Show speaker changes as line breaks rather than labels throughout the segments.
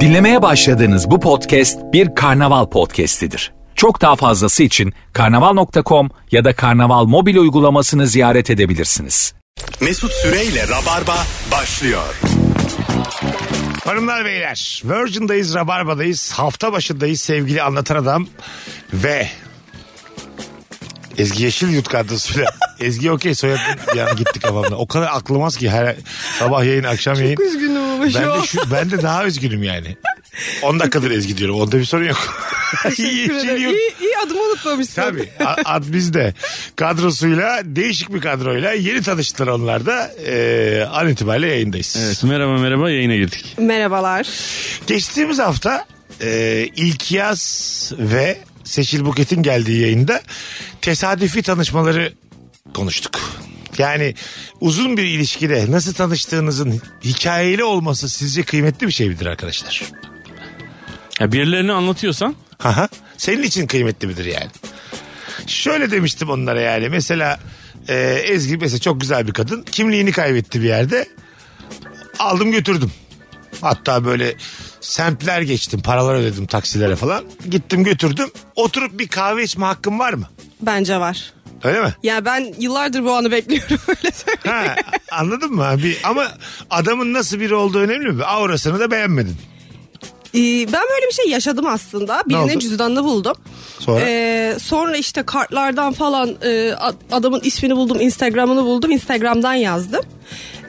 Dinlemeye başladığınız bu podcast bir karnaval podcastidir. Çok daha fazlası için karnaval.com ya da karnaval mobil uygulamasını ziyaret edebilirsiniz.
Mesut Süreyle Rabarba başlıyor.
Hanımlar beyler Virgin'dayız Rabarba'dayız hafta başındayız sevgili anlatan adam ve Ezgi Yeşil yut kadrosuyla Ezgi okey soyadı yani gitti kafamda o kadar aklımaz ki her sabah yayın akşam yayın
Çok şey üzgünüm ama şu
ben
an.
de, şu, ben de daha üzgünüm yani 10 dakikadır Ezgi diyorum onda bir sorun yok
Teşekkür
Yeşil
ederim.
yurt.
İyi, iyi adımı unutmamışsın.
Tabii. A- Ad bizde. Kadrosuyla değişik bir kadroyla yeni tanıştılar onlar da. Ee, an itibariyle yayındayız.
Evet merhaba merhaba yayına girdik.
Merhabalar.
Geçtiğimiz hafta e, ilk yaz ve Seçil Buket'in geldiği yayında tesadüfi tanışmaları konuştuk. Yani uzun bir ilişkide nasıl tanıştığınızın hikayeli olması sizce kıymetli bir şey midir arkadaşlar?
Ya birilerini anlatıyorsan
Aha. Senin için kıymetli midir yani? Şöyle demiştim onlara yani. Mesela e, Ezgi mesela çok güzel bir kadın. Kimliğini kaybetti bir yerde. Aldım götürdüm. Hatta böyle semtler geçtim. Paralar ödedim taksilere falan. Gittim götürdüm. Oturup bir kahve içme hakkım var mı?
Bence var.
Öyle mi?
Ya ben yıllardır bu anı bekliyorum öyle söyleyeyim.
Ha, anladın mı? Bir, ama adamın nasıl biri olduğu önemli mi? Aurasını da beğenmedin.
Ee, ben böyle bir şey yaşadım aslında. Birinin
oldu?
cüzdanını buldum.
Sonra?
Ee, sonra işte kartlardan falan e, ad- adamın ismini buldum, Instagram'ını buldum, Instagram'dan yazdım.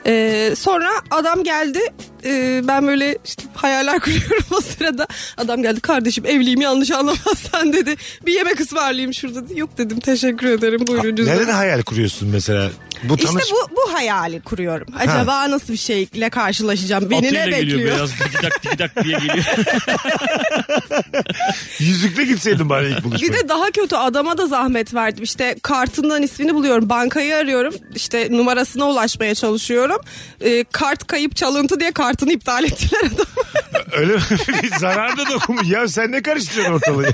Ee, sonra adam geldi. Ee, ben böyle işte hayaller kuruyorum o sırada. Adam geldi kardeşim evliyim yanlış anlamazsan dedi. Bir yemek ısmarlayayım şurada. Yok dedim teşekkür ederim buyurun cüzdanı.
Neden hayal kuruyorsun mesela? Bu tanış...
İşte bu, bu hayali kuruyorum. Acaba nasıl bir şeyle karşılaşacağım? Beni
atıyla
ne
geliyor
bekliyor?
beyaz dikidak dikidak diye geliyor.
Yüzükle gitseydin bari ilk buluşmaya.
Bir de daha kötü adama da zahmet verdim. İşte kartından ismini buluyorum. Bankayı arıyorum. İşte numarasına ulaşmaya çalışıyorum. Ee, kart kayıp çalıntı diye kartını iptal ettiler adam.
Öyle mi? Zarar da dokunmuş. Ya sen ne karıştırıyorsun ortalığı?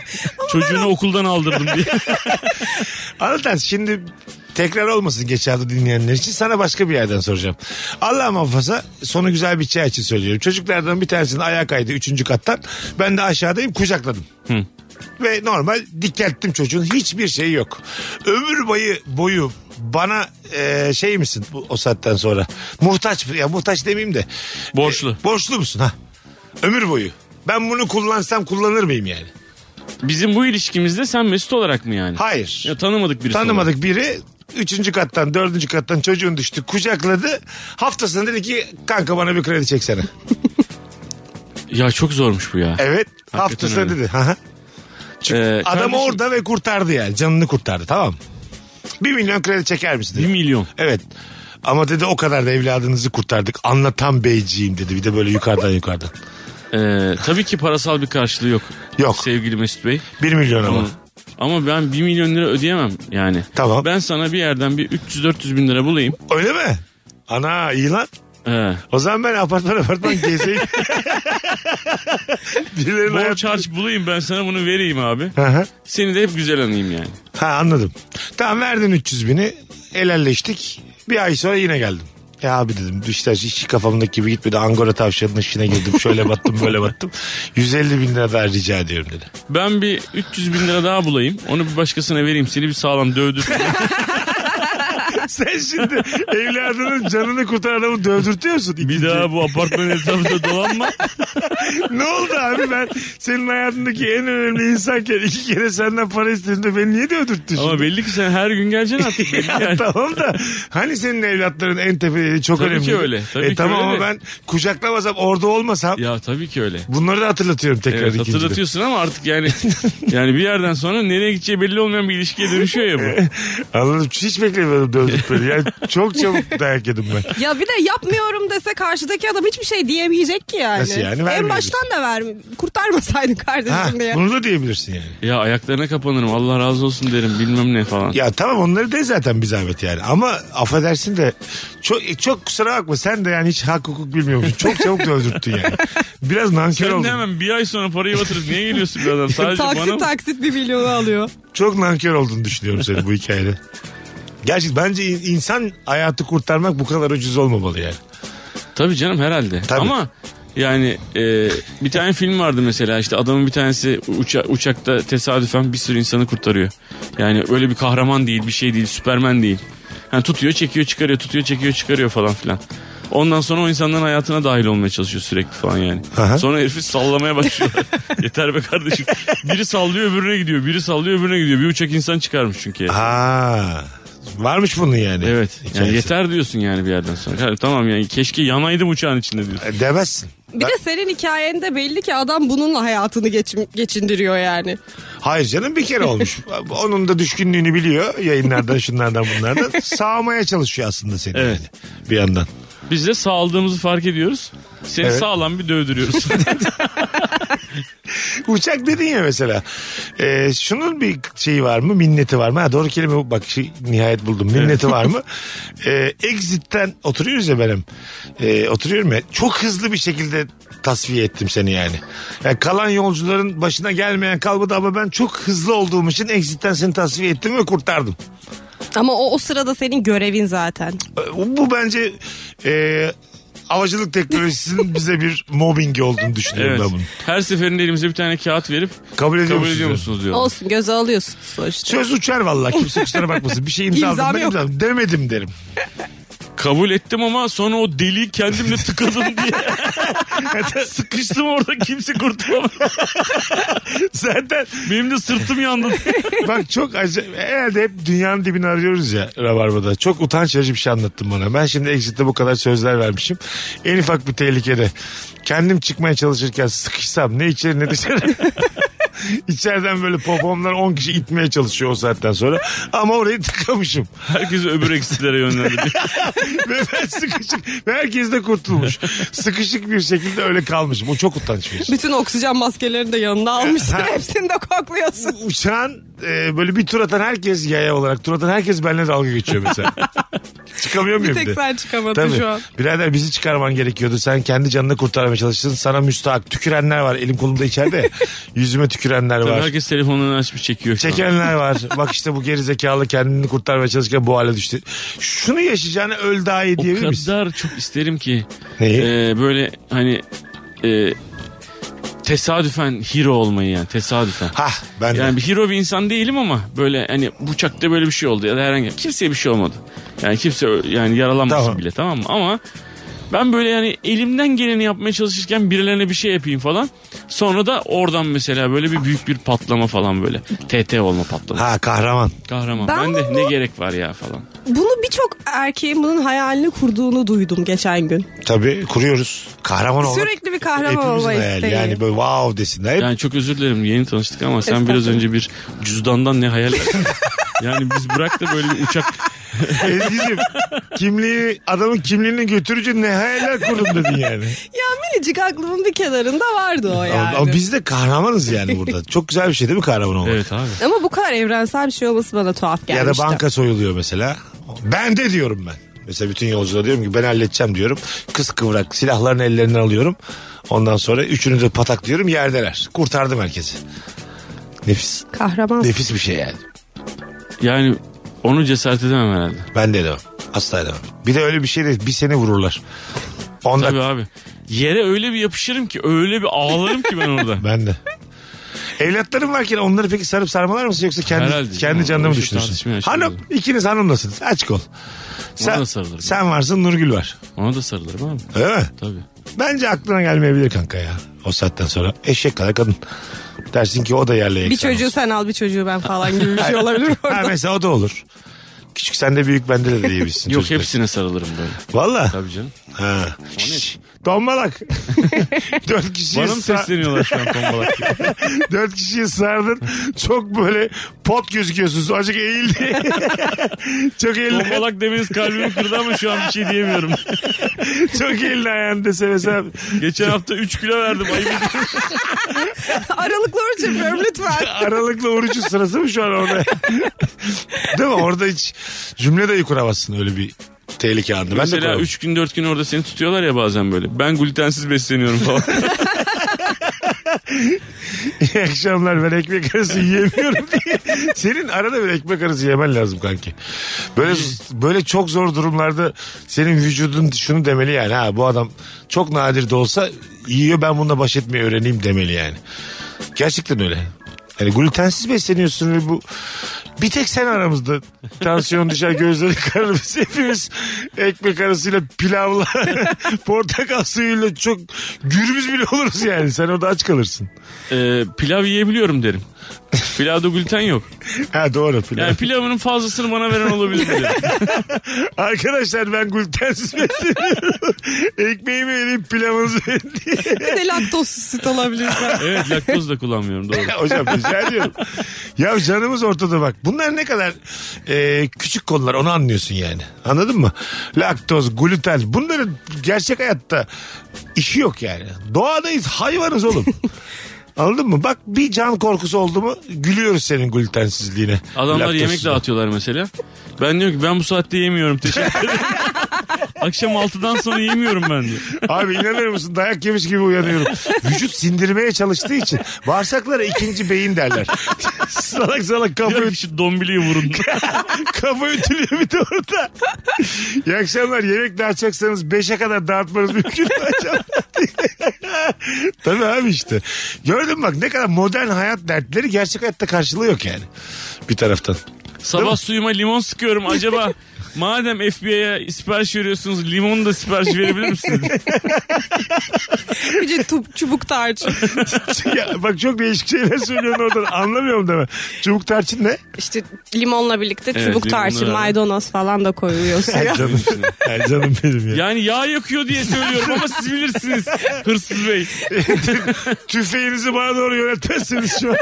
Çocuğunu okuldan aldırdım diye.
Anlatan şimdi tekrar olmasın geç hafta dinleyenler için sana başka bir yerden soracağım. Allah muhafaza sonu güzel bir çay için söylüyorum. Çocuklardan bir tanesinin ayağı kaydı üçüncü kattan. Ben de aşağıdayım kucakladım. Ve normal diklettim çocuğun hiçbir şeyi yok. Ömür boyu boyu bana e, şey misin bu, o saatten sonra? Muhtaç mı? ya muhtaç demeyeyim de.
Borçlu.
E, borçlu musun ha? Ömür boyu. Ben bunu kullansam kullanır mıyım yani?
Bizim bu ilişkimizde sen Mesut olarak mı yani?
Hayır.
Ya tanımadık birisi. olarak.
Tanımadık biri üçüncü kattan dördüncü kattan çocuğun düştü kucakladı. Haftasında dedi ki kanka bana bir kredi çeksene.
Ya çok zormuş bu ya.
Evet haftasında
öyle.
dedi. Hı hı. Çünkü
Ee,
adam
kardeşim-
orada ve kurtardı yani canını kurtardı tamam. Bir milyon kredi çeker misin dedi.
Bir milyon.
Evet. Ama dedi o kadar da evladınızı kurtardık. Anlatan beyciğim dedi. Bir de böyle yukarıdan yukarıdan.
Ee, tabii ki parasal bir karşılığı yok.
Yok.
Sevgili Mesut Bey.
Bir milyon ama.
Ama ben 1 milyon lira ödeyemem yani.
Tamam.
Ben sana bir yerden bir 300-400 bin lira bulayım.
Öyle mi? Ana iyi lan.
Ee,
O zaman ben apartman apartman gezeyim. Birilerinin
borç
hayatını-
harç bulayım ben sana bunu vereyim abi.
Hı hı.
Seni de hep güzel anayım yani.
Ha anladım. Tamam verdin 300 bini. Helalleştik. Bir ay sonra yine geldim. Ya abi dedim işte işi kafamdaki gibi gitmedi. Angora tavşanının işine girdim. Şöyle battım böyle battım. 150 bin lira daha rica ediyorum dedi.
Ben bir 300 bin lira daha bulayım. Onu bir başkasına vereyim. Seni bir sağlam dövdür.
Sen şimdi evladının canını kurtaran adamı dövdürtüyorsun.
bir daha bu apartmanın etrafında dolanma.
ne oldu abi ben senin hayatındaki en önemli insanken iki kere senden para istedim de beni niye dövdürttün
Ama
şimdi?
belli ki sen her gün geleceksin artık. belli
Ya
yani.
tamam da hani senin evlatların en tepeleri çok
Tabii
önemli.
ki öyle, tabii
e,
ki
tamam
öyle
ama
de.
ben kucaklamasam orada olmasam
Ya tabii ki öyle.
Bunları da hatırlatıyorum tekrar
Evet,
evet,
hatırlatıyorsun ama artık yani yani bir yerden sonra nereye gideceği belli olmayan bir ilişkiye dönüşüyor ya bu.
Anladım. Hiç beklemiyordum dövdükleri. Yani çok çabuk dayak yedim ben.
ya bir de yapmıyorum dese karşıdaki adam hiçbir şey diyemeyecek ki yani.
Nasıl yani? Vermiyor
En baştan da ver. Kurtarmasaydın kardeşim
Ha,
diye.
bunu da diyebilirsin yani.
Ya ayaklarına kapanırım Allah razı olsun derim bilmem ne falan.
Ya tamam onları de zaten bir zahmet yani. Ama affedersin de çok e, çok kusura bakma sen de yani hiç hak hukuk bilmiyormuşsun. Çok çabuk dövdürttün yani. Biraz nankör
Sen
oldun.
de hemen bir ay sonra parayı batırıp niye geliyorsun bir adam? Sadece
taksit
bana mı?
taksit bir milyonu alıyor.
Çok nankör olduğunu düşünüyorum seni bu hikayede. Gerçi bence in- insan hayatı kurtarmak bu kadar ucuz olmamalı yani.
Tabii canım herhalde.
Tabii.
Ama Yani e, bir tane film vardı mesela işte adamın bir tanesi uça- uçakta tesadüfen bir sürü insanı kurtarıyor. Yani öyle bir kahraman değil bir şey değil süpermen değil. Yani tutuyor çekiyor çıkarıyor tutuyor çekiyor çıkarıyor falan filan. Ondan sonra o insanların hayatına dahil olmaya çalışıyor sürekli falan yani.
Aha.
Sonra herifi sallamaya başlıyor. Yeter be kardeşim. Biri sallıyor öbürüne gidiyor. Biri sallıyor öbürüne gidiyor. Bir uçak insan çıkarmış çünkü.
Ha. Varmış bunun yani.
Evet. Yani
Hikayesi.
yeter diyorsun yani bir yerden sonra. Kardeşim, tamam yani keşke yanaydım uçağın içinde diyorsun.
E, Demezsin.
Bir de senin hikayende belli ki adam bununla hayatını geçim- geçindiriyor yani.
Hayır canım bir kere olmuş. Onun da düşkünlüğünü biliyor yayınlardan şunlardan bunlardan. Sağmaya çalışıyor aslında seni
Evet.
yani bir yandan.
Biz de sağaldığımızı fark ediyoruz. Seni
Evet.
sağlam bir dövdürüyoruz.
Uçak dedin ya mesela. Ee, şunun bir şeyi var mı? Minneti var mı? Ha, doğru kelime bu. Bak şey, nihayet buldum. Minneti var mı? Ee, exit'ten oturuyoruz ya benim. Ee, oturuyorum ya. Çok hızlı bir şekilde tasfiye ettim seni yani. Yani kalan yolcuların başına gelmeyen kalmadı ama ben çok hızlı olduğum için exit'ten seni tasfiye ettim ve kurtardım.
Ama o, o sırada senin görevin zaten.
Ee, Bu bence e, avcılık teknolojisinin bize bir mobbingi olduğunu düşünüyorum
evet.
ben bunu.
Her seferinde elimize bir tane kağıt verip
Kabul ediyor
kabul
musunuz?
ediyor musunuz diyor.
Olsun göze alıyorsun sonuçta.
Söz uçar vallahi kimse kusura bakmasın. Bir şey imzaladım
İmzam
ben
yok.
imzaladım. Demedim derim.
Kabul ettim ama sonra o deliği kendimle tıkadım diye. Sıkıştım orada kimse kurtulamadı.
Zaten
Benim de sırtım yandı.
bak çok acayip. Herhalde hep dünyanın dibini arıyoruz ya Rabarba'da. Çok utanç verici bir şey anlattın bana. Ben şimdi Exit'te bu kadar sözler vermişim. En ufak bir tehlikede. Kendim çıkmaya çalışırken sıkışsam ne içeri ne dışarı. İçeriden böyle popomlar 10 kişi itmeye çalışıyor o saatten sonra. Ama orayı tıkamışım.
Herkesi öbür eksilere yönlendirdi.
ve ben sıkışık. Ve herkes de kurtulmuş. Sıkışık bir şekilde öyle kalmışım. O çok utanç verici.
Bütün oksijen maskelerini de yanına almışsın.
Ha.
Hepsini de kokluyorsun.
uçağın e, böyle bir tur atan herkes yaya olarak tur atan herkes benimle dalga geçiyor mesela. Çıkamıyor muyum bir
Bir
de?
tek sen çıkamadın
Tabii.
şu an.
Birader bizi çıkarman gerekiyordu. Sen kendi canını kurtarmaya çalıştın. Sana müstahak. Tükürenler var. Elim kolumda içeride. Yüzüme tükürenler var.
Herkes telefonlarını açmış çekiyor. şu an.
Çekenler var. Bak işte bu geri zekalı kendini kurtarmaya çalışırken bu hale düştü. Şunu yaşayacağını öl daha iyi
O
diyebilir misin?
kadar çok isterim ki.
Neyi?
e, böyle hani e, tesadüfen hero olmayı yani tesadüfen.
Hah ben de.
Yani bir hero bir insan değilim ama böyle hani bıçakta böyle bir şey oldu ya da herhangi kimseye bir şey olmadı. Yani kimse ö- yani yaralanmasın
Tamam.
bile tamam mı? Ama ben böyle yani elimden geleni yapmaya çalışırken birilerine bir şey yapayım falan. Sonra da oradan mesela böyle bir büyük bir patlama falan böyle. TT olma patlaması.
Ha kahraman.
Kahraman.
Ben
Ben, de
bunu-
ne gerek var ya falan.
Bunu birçok erkeğin bunun hayalini kurduğunu duydum geçen gün.
Tabii kuruyoruz. Kahraman olmak.
Sürekli bir kahraman
hepimizin
olma
hayali.
isteği.
Yani böyle wow desinler. Hep
Yani çok özür dilerim yeni tanıştık ama sen biraz
Estağfurullah.
önce bir cüzdandan ne hayal ettin? Yani biz bırak da böyle bir uçak
Ezgi'cim kimliği adamın kimliğini götürücü ne hayaller kurdun dedin yani.
Ya minicik aklımın bir kenarında vardı o yani.
Ama biz de kahramanız yani burada. Çok güzel bir şey değil mi kahraman olmak?
Evet abi.
Ama bu kadar evrensel bir şey olması bana tuhaf
ya da
gelmişti.
banka soyuluyor mesela. Ben de diyorum ben. Mesela bütün yolculara diyorum ki ben halledeceğim diyorum. Kız kıvrak silahlarını ellerinden alıyorum. Ondan sonra üçünü de pataklıyorum yerdeler. Kurtardım herkesi. Nefis.
Kahraman.
Nefis bir şey yani.
Yani onu cesaret edemem herhalde.
Ben de edemem. Asla edemem. Bir de öyle bir şey de bir seni vururlar. Onda
Tabii abi. Yere öyle bir yapışırım ki öyle bir ağlarım ki ben orada.
ben de. Evlatlarım varken onları peki sarıp sarmalar mısın yoksa kendi
Herhalde
kendi
canım,
canını
o
mı
işi
düşünürsün?
tartışmaya
Hanım
açıldı.
ikiniz hanımlasınız. Açık ol. Sen,
da sarılırım.
sen varsın Nurgül var.
Ona da sarılırım abi.
Öyle mi?
Tabii.
Bence aklına gelmeyebilir kanka ya. O saatten sonra eşek kadar kadın. Dersin ki o da yerle
Bir
yeksan
çocuğu
olsun.
sen al bir çocuğu ben falan gibi bir şey olabilir mi
Ha
orada.
mesela o da olur. Küçük sende büyük bende de diyebilirsin.
Yok
çocuklar.
hepsine sarılırım böyle.
Valla.
Tabii canım.
Ha. Şşş, Dombalak. Dört kişiyi,
Bana mı
sa-
sesleniyorlar şu an tombalak gibi?
dört kişiyi sardın. Çok böyle pot gözüküyorsun. Azıcık eğildi. Çok eğildi.
Tombalak demeniz kalbimi kırdı ama şu an bir şey diyemiyorum.
Çok elini ayağını dese mesela.
Geçen hafta 3 kilo verdim. Ayıp ediyorum.
Aralıklı oruç yapıyorum lütfen.
Aralıklı orucu sırası mı şu an orada? Değil mi? Orada hiç cümle dahi kuramazsın öyle bir tehlike anında. Ben de
Mesela
kuramam.
3 gün 4 gün orada seni tutuyorlar ya bazen böyle. Ben glutensiz besleniyorum falan.
İyi akşamlar ben ekmek arası yiyemiyorum diye. Senin arada bir ekmek arası yemen lazım kanki. Böyle böyle çok zor durumlarda senin vücudun şunu demeli yani. Ha bu adam çok nadir de olsa yiyor ben bununla baş etmeyi öğreneyim demeli yani. Gerçekten öyle. Yani glutensiz besleniyorsun ve bu bir tek sen aramızda tansiyon düşer gözleri kararımız hepimiz ekmek arasıyla pilavla portakal suyuyla çok gürümüz bile oluruz yani sen orada aç kalırsın.
Ee, pilav yiyebiliyorum derim. Pilavda gluten yok.
Ha doğru pilav.
Yani pilavının fazlasını bana veren olabilir mi derim.
Arkadaşlar ben glutensiz besleniyorum. Ekmeğimi vereyim pilavınızı verin diye.
Bir de laktozsuz süt alabiliriz.
Evet laktoz da kullanmıyorum doğru.
Hocam rica ediyorum. Ya canımız ortada bak. Bunlar ne kadar e, küçük konular onu anlıyorsun yani. Anladın mı? Laktoz, gluten bunların gerçek hayatta işi yok yani. Doğadayız hayvanız oğlum. Anladın mı? Bak bir can korkusu oldu mu gülüyoruz senin glutensizliğine.
Adamlar yemek
laktozsuzluğuna.
dağıtıyorlar mesela. Ben diyorum ki ben bu saatte yemiyorum teşekkür ederim. Akşam 6'dan sonra yemiyorum ben diyor.
Abi inanır mısın dayak yemiş gibi uyanıyorum. Vücut sindirmeye çalıştığı için bağırsaklara ikinci beyin derler. salak salak kafa,
Diyorum ki şu dombiliyi vurun.
kafa ütülüyor bir de orada. İyi akşamlar yemek dağıtacaksanız 5'e kadar dağıtmanız mümkün mü acaba? Tabii abi işte. Gördün mü bak ne kadar modern hayat dertleri gerçek hayatta karşılığı yok yani. Bir taraftan.
Sabah suyuma limon sıkıyorum acaba madem FBI'ye sipariş veriyorsunuz limonu da sipariş verebilir misiniz?
Bir de tu- çubuk tarç.
Ya bak çok değişik şeyler söylüyorsun oradan anlamıyorum deme. Çubuk tarçın ne?
İşte limonla birlikte
Evet,
çubuk
limonla
tarçı,
beraber.
maydanoz falan da koyuyor suya.
Ay canım, ay canım benim ya.
Yani yağ yakıyor diye söylüyorum ama siz bilirsiniz hırsız bey.
Tüfeğinizi bana doğru yöneltmezseniz şu an.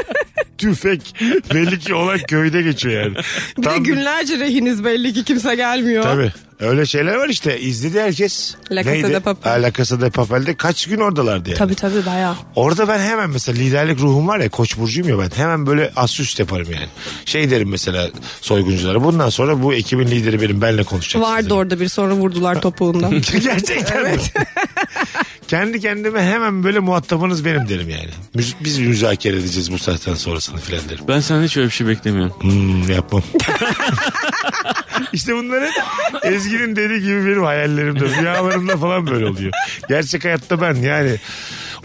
Tüfek. Belli ki olan köyde geçiyor yani.
Bir de günlerce rehiniz belli ki kimse gelmiyor.
Tabii. Öyle şeyler var işte. İzledi herkes.
La Casa
Neydi?
de Papel.
Ha, La Casa de Papel'de kaç gün oradalardı yani.
Tabii tabii bayağı.
Orada ben hemen mesela liderlik ruhum var ya koç burcuyum ya ben hemen böyle asüst yaparım yani. Şey derim mesela soygunculara bundan sonra bu ekibin lideri benim benle konuşacak.
Vardı orada bir sonra vurdular topuğundan.
Gerçekten mi? Kendi kendime hemen böyle muhatabınız benim derim yani. Müz- Biz müzakere edeceğiz bu saatten sonrasını filan derim.
Ben senden hiç öyle bir şey beklemiyorum.
Hmm, yapmam. işte bunların Ezgi'nin dediği gibi benim hayallerimde, rüyalarımda falan böyle oluyor. Gerçek hayatta ben yani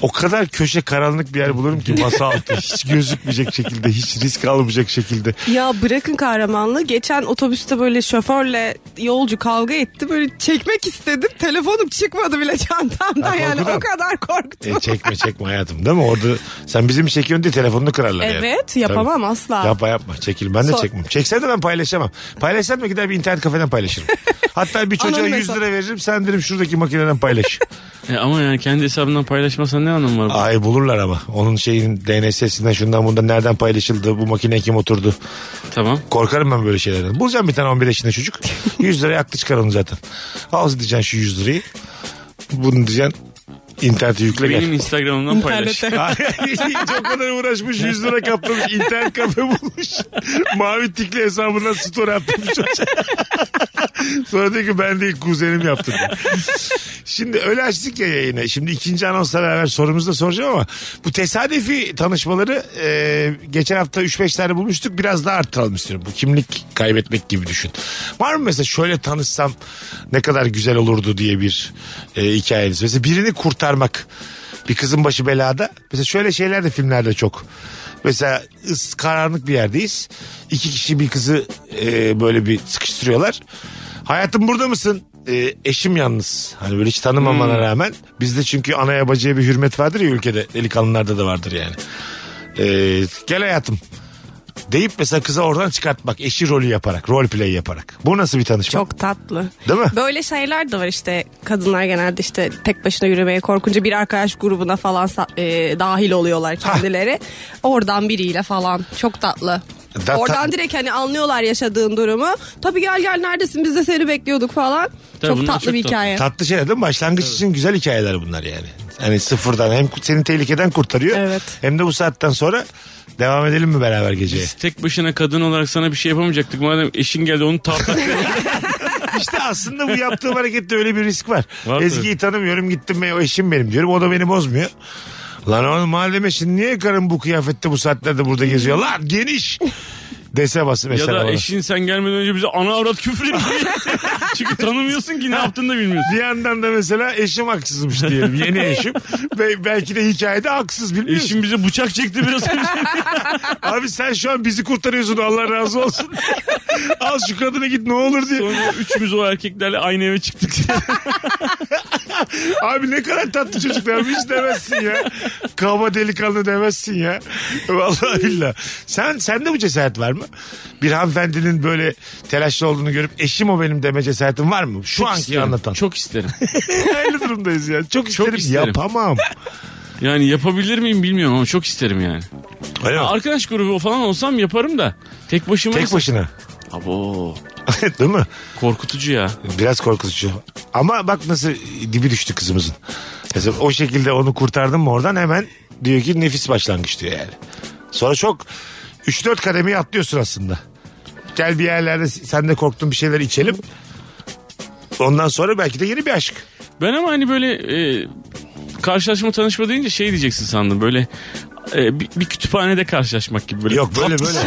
o kadar köşe karanlık bir yer bulurum ki masa altı hiç gözükmeyecek şekilde, hiç risk almayacak şekilde.
Ya bırakın kahramanlığı. Geçen otobüste böyle şoförle yolcu kavga etti. Böyle çekmek istedim. Telefonum çıkmadı bile çantamdan.
Ha,
yani
korkudan.
o kadar korktum.
E, çekme çekme hayatım değil mi? Orada sen bizim çekiyorsun diye telefonunu kırarlar yani.
Evet, yapamam asla.
Yapma yapma çekil ben de
Sor.
çekmem. Çeksen de ben paylaşamam. Paylaşsam da gider bir internet kafeden paylaşırım. Hatta bir çocuğa
Anonim
100
hesap.
lira veririm sen derim şuradaki makineden paylaş.
E ama yani kendi hesabından paylaşmasan ne anlamı var?
Ay bulurlar ama. Onun şeyin DNS'sinden şundan bundan nereden paylaşıldı bu makineye kim oturdu.
Tamam.
Korkarım ben böyle şeylerden. Bulacağım bir tane 11 yaşında çocuk. 100 liraya aklı çıkar onu zaten. Al diyeceksin şu 100 lirayı. Bunu diyeceksin internete yükle gel.
Benim Instagram'dan paylaş.
İnternete.
Ay, Hiç o kadar uğraşmış 100 lira kaplamış internet kafe bulmuş. Mavi tikli hesabından story atmış çocuğa. Sonra diyor ki ben değil kuzenim yaptı. diyor. Şimdi öyle açtık ya yayını. Şimdi ikinci anonsla beraber sorumuzu da soracağım ama bu tesadüfi tanışmaları e, geçen hafta 3-5 tane bulmuştuk. Biraz daha arttıralım istiyorum. Bu kimlik kaybetmek gibi düşün. Var mı mesela şöyle tanışsam ne kadar güzel olurdu diye bir e, hikayeniz. Mesela birini kurtarmak. Bir kızın başı belada. Mesela şöyle şeyler de filmlerde çok. Mesela ıs, karanlık bir yerdeyiz. İki kişi bir kızı e, böyle bir sıkıştırıyorlar. Hayatım burada mısın? E, eşim yalnız. Hani böyle hiç
Hmm.
tanımamana rağmen. Bizde çünkü anaya bacıya bir hürmet vardır ya ülkede. Delikanlılarda da vardır yani. E, gel hayatım. Deyip mesela kıza oradan çıkartmak. Eşi rolü yaparak. Rol play yaparak. Bu nasıl bir tanışma?
Çok tatlı.
Değil mi?
Böyle şeyler de var işte kadınlar genelde işte tek başına yürümeye korkunca bir arkadaş grubuna falan sa- e, dahil oluyorlar kendileri. Oradan biriyle falan çok tatlı.
Da-
Oradan
ta-
direkt hani anlıyorlar yaşadığın durumu. Tabii gel gel neredesin biz de seni bekliyorduk falan.
Tabii
çok
bunlar
tatlı
çok
bir
tatlı.
hikaye.
Tatlı şeyler değil mi? Başlangıç için güzel hikayeler bunlar yani. Hani sıfırdan hem seni tehlikeden kurtarıyor.
Evet.
Hem de bu saatten sonra devam edelim mi beraber geceye?
Biz tek başına kadın olarak sana bir şey yapamayacaktık. Madem eşin geldi onu tartak.
işte aslında bu yaptığım harekette öyle bir risk var.
Var
Ezgi'yi tanımıyorum gittim ve o eşim benim diyorum. O da beni bozmuyor. Lan oğlum mahalleme şimdi niye karım bu kıyafette bu saatlerde burada geziyor? Lan geniş. Dese bas
Ya
mesela
da
bana.
eşin sen gelmeden önce bize ana avrat küfür ediyor. Çünkü tanımıyorsun ki ne yaptığını da bilmiyorsun.
Bir yandan da mesela eşim haksızmış diyelim. Yeni eşim. Ve belki de hikayede haksız bilmiyorsun.
Eşim bize bıçak çekti biraz önce.
Abi sen şu an bizi kurtarıyorsun Allah razı olsun. Al şu kadına git ne olur diye.
Sonra üçümüz o erkeklerle aynı eve çıktık.
Abi ne kadar tatlı çocuklar hiç demezsin ya. Kaba delikanlı demezsin ya. Vallahi billahi. Sen sende bu cesaret var mı? Bir hanımefendinin böyle telaşlı olduğunu görüp eşim o benim deme cesaretin var mı? Şu anki
İsterim.
anlatan. Çok
Çok isterim.
aynı durumdayız ya. Çok isterim,
isterim.
yapamam.
Yani yapabilir miyim bilmiyorum ama çok isterim yani.
Öyle mi?
Arkadaş grubu falan olsam yaparım da. Tek başıma.
Tek başına.
Abo.
Değil mi?
Korkutucu ya.
Biraz korkutucu. Ama bak nasıl dibi düştü kızımızın. Mesela o şekilde onu kurtardım mı oradan hemen diyor ki nefis başlangıç diyor yani. Sonra çok 3-4 kademeyi atlıyorsun aslında. Gel bir yerlerde sen de korktun bir şeyler içelim. Ondan sonra belki de yeni bir aşk.
Ben ama hani böyle e, karşılaşma tanışma deyince şey diyeceksin sandım böyle e, bir, bir kütüphanede karşılaşmak gibi böyle.
Yok böyle böyle.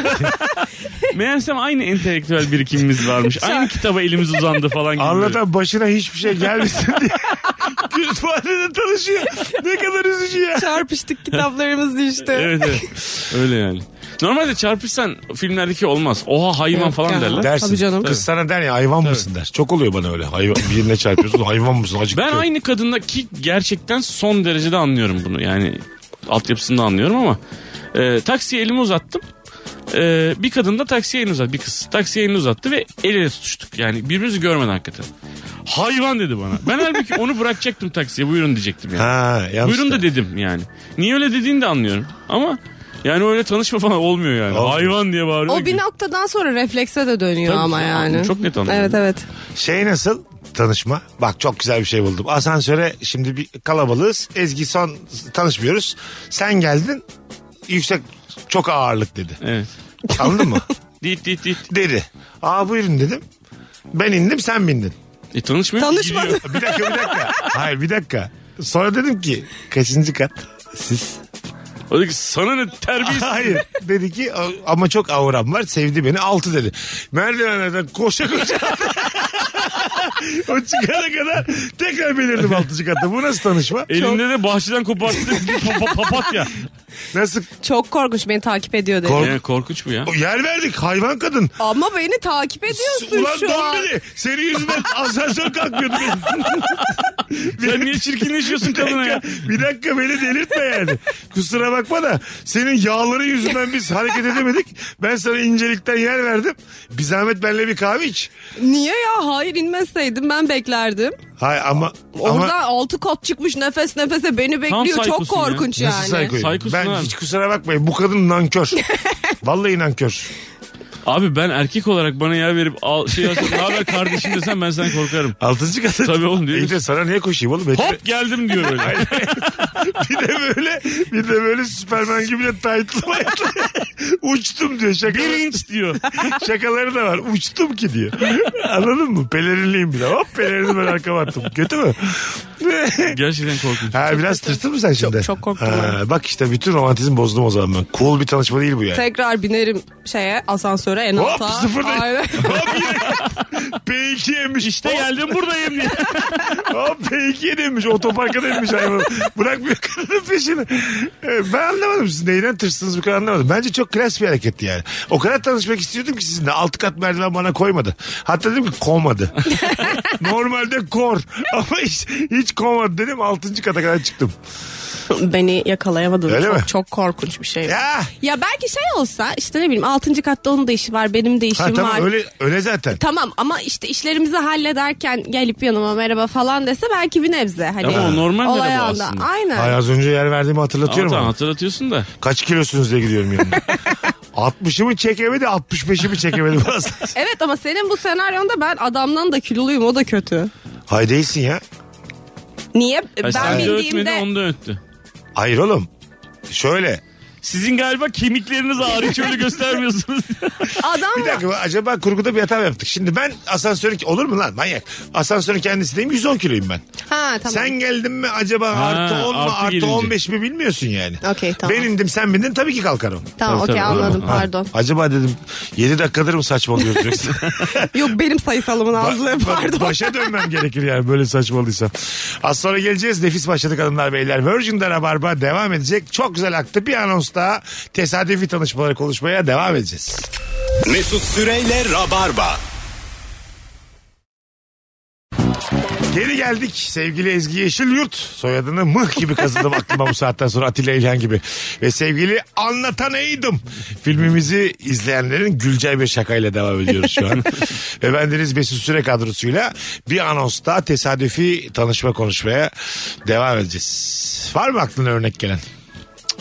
Meğersem aynı entelektüel birikimimiz varmış. aynı kitaba elimiz uzandı falan gibi. böyle.
Anlatan başına hiçbir şey gelmesin diye. Kütüphanede tanışıyor. Ne kadar üzücü ya.
Çarpıştık kitaplarımız düştü.
Evet evet. Öyle yani. Normalde çarpışsan filmlerdeki olmaz. Oha hayvan
Yok ya.
falan derler.
Dersin.
Tabii canım.
Kız sana der ya hayvan mısın der. Çok oluyor bana öyle. Hayvan, birine çarpıyorsun hayvan mısın acıktı.
Ben aynı kadındaki gerçekten son derecede anlıyorum bunu. Yani altyapısını da anlıyorum ama. E, taksiye elimi uzattım. E, bir kadın da taksiye elini uzattı. Bir kız taksiye elini uzattı ve el ele tutuştuk. Yani birbirimizi görmeden hakikaten. Hayvan dedi bana. Ben halbuki onu bırakacaktım taksiye buyurun diyecektim yani.
Ha, yanlış
buyurun da dedim yani. Niye öyle dediğini de anlıyorum. Ama yani öyle tanışma falan olmuyor yani.
Olmuyor.
Hayvan diye bağırıyor.
O bir noktadan sonra reflekse de dönüyor
Tabii
ama
canım,
yani.
çok net anladım.
Evet evet.
Şey nasıl? Tanışma. Bak çok güzel bir şey buldum. Asansöre şimdi bir kalabalığız. Ezgi son tanışmıyoruz. Sen geldin. Yüksek çok ağırlık dedi.
Evet.
Anladın mı?
Dit dit dit.
Dedi. Aa buyurun dedim. Ben indim sen bindin.
E tanışmıyor.
Tanışmadı.
Gidiyor.
Bir dakika bir dakika. Hayır bir dakika. Sonra dedim ki kaçıncı kat? Siz.
O dedi ki sana ne terbiyesiz.
Hayır. Dedi ki ama çok avram var sevdi beni altı dedi. Merdivenlerden koşa koşa. o çıkana kadar tekrar belirdim altıncı katta. Bu nasıl tanışma?
Elinde de bahçeden koparttı bir pa- pa- papatya.
Nasıl
Çok korkunç beni takip ediyor dedi.
Kork-
Yani korkunç bu ya.
yer verdik hayvan kadın.
ama beni takip ediyorsun
Ulan
şu an.
dombili senin yüzünden asansör kalkmıyordu.
Sen niye çirkinleşiyorsun kadına ya?
bir dakika beni delirtme yani. Kusura bakma da senin yağların yüzünden biz hareket edemedik. Ben sana incelikten yer verdim. Bir zahmet benimle bir kahve iç.
Niye ya? Hayır inmeseydim ben beklerdim.
Hay ama
Orada
ama
altı kot çıkmış nefes nefese beni bekliyor. Çok
saykosun ya.
korkunç
nasıl
yani.
saykoyum?
Saykosun
Ben
abi.
hiç kusura bakmayın bu kadın nankör. Vallahi nankör.
Abi ben erkek olarak bana yer verip al, şey yapsam, ne haber kardeşim desem ben senden korkarım.
Altıncı kadın.
Tabii oğlum, değil
İyi de
misin?
sana niye koşayım oğlum? Hep-
Hop geldim diyor böyle.
bir de böyle bir de böyle Süpermen gibi de taytlı maytlı. Uçtum diyor şaka.
Bir inç diyor.
Şakaları da var. Uçtum ki diyor. Anladın mı? Pelerinliyim bile. Hop pelerini ben arkama attım. Kötü mü?
Gerçekten korkunç.
ha, biraz tırstın mı sen şimdi?
çok korktum
Ha, bak işte bütün romantizm bozdum o zaman ben. Cool bir tanışma değil bu yani.
Tekrar binerim şeye asansöre en
Hop
alta.
sıfırdayım.
Aynen.
Hop yine. P2 yemiş.
İşte
Hop,
geldim buradayım diye.
Hop P2 demiş. Otoparka demiş hayvan. Bırakmıyor kadının peşini. Ee, Ben anlamadım siz neyden tırstınız bu kadar anlamadım. Bence çok klas bir hareketti yani. O kadar tanışmak istiyordum ki sizinle. Altı kat merdiven bana koymadı. Hatta dedim ki komadı. Normalde kor. Ama hiç, hiç komadı dedim. Altıncı kata kadar çıktım.
Beni yakalayamadın.
Öyle
çok,
mi?
çok korkunç bir şey.
Ya.
Ya belki şey olsa işte ne bileyim 6. katta onun da işi var benim de işim
Ha, tamam
var.
öyle, öyle zaten.
Tamam ama işte işlerimizi hallederken gelip yanıma merhaba falan dese belki bir nebze. Hani
Ama o normal
olay
merhaba
anında.
aslında.
Aynen.
Ay, az önce yer verdiğimi
Ama
hatırlatıyorum.
tamam
ama.
hatırlatıyorsun da.
Kaç kilosunuz diye gidiyorum yanına. 60'ımı çekemedi 65'imi çekemedi bazen.
Evet ama senin bu senaryonda ben adamdan da kiloluyum o da kötü.
Hay değilsin ya.
Niye?
Ay,
ben
sen de ötmedi
bildiğimde
onu da öttü.
Hayır oğlum. Şöyle.
Sizin galiba kemikleriniz ağrıyor hiç öyle göstermiyorsunuz.
Bir
Adam
dakika acaba kurguda bir hata mı yaptık? Şimdi ben asansörün olur mu lan manyak? Ansörün kendisindeyim 110 kiloyum ben.
ha tamam.
Sen geldin mi acaba
Ha,
artı 10 mu
artı
artı
gelince.
15 mi bilmiyorsun yani.
Okey, tamam.
Ben indim sen bindin tabii ki kalkarım.
Tamam
Tabii,
okey
tabii,
anladım
tamam.
pardon.
Acaba dedim 7 dakikadır mı saçmalıyoruz yoksa?
Yok benim sayısalımın azlığı
Ba- ba-
pardon.
Başa dönmem gerekir yani böyle saçmalıysam. Az sonra geleceğiz. Nefis başladık hanımlar beyler. Virgin'de Rabarba devam edecek. Çok güzel aktı. Bir anons daha tesadüfi tanışmaları konuşmaya devam edeceğiz.
Mesut Süreyle Rabarba.
Geri geldik sevgili Ezgi Yeşilyurt. Soyadını mıh gibi kazıdım aklıma bu saatten sonra Atilla İlhan gibi. Ve sevgili Anlatan Eğdim. Filmimizi izleyenlerin güleceği bir şakayla devam ediyoruz şu an. Ve bendeniz Mesut Süre kadrosuyla bir anonsta tesadüfi tanışma konuşmaya devam edeceğiz. Var mı aklına örnek gelen?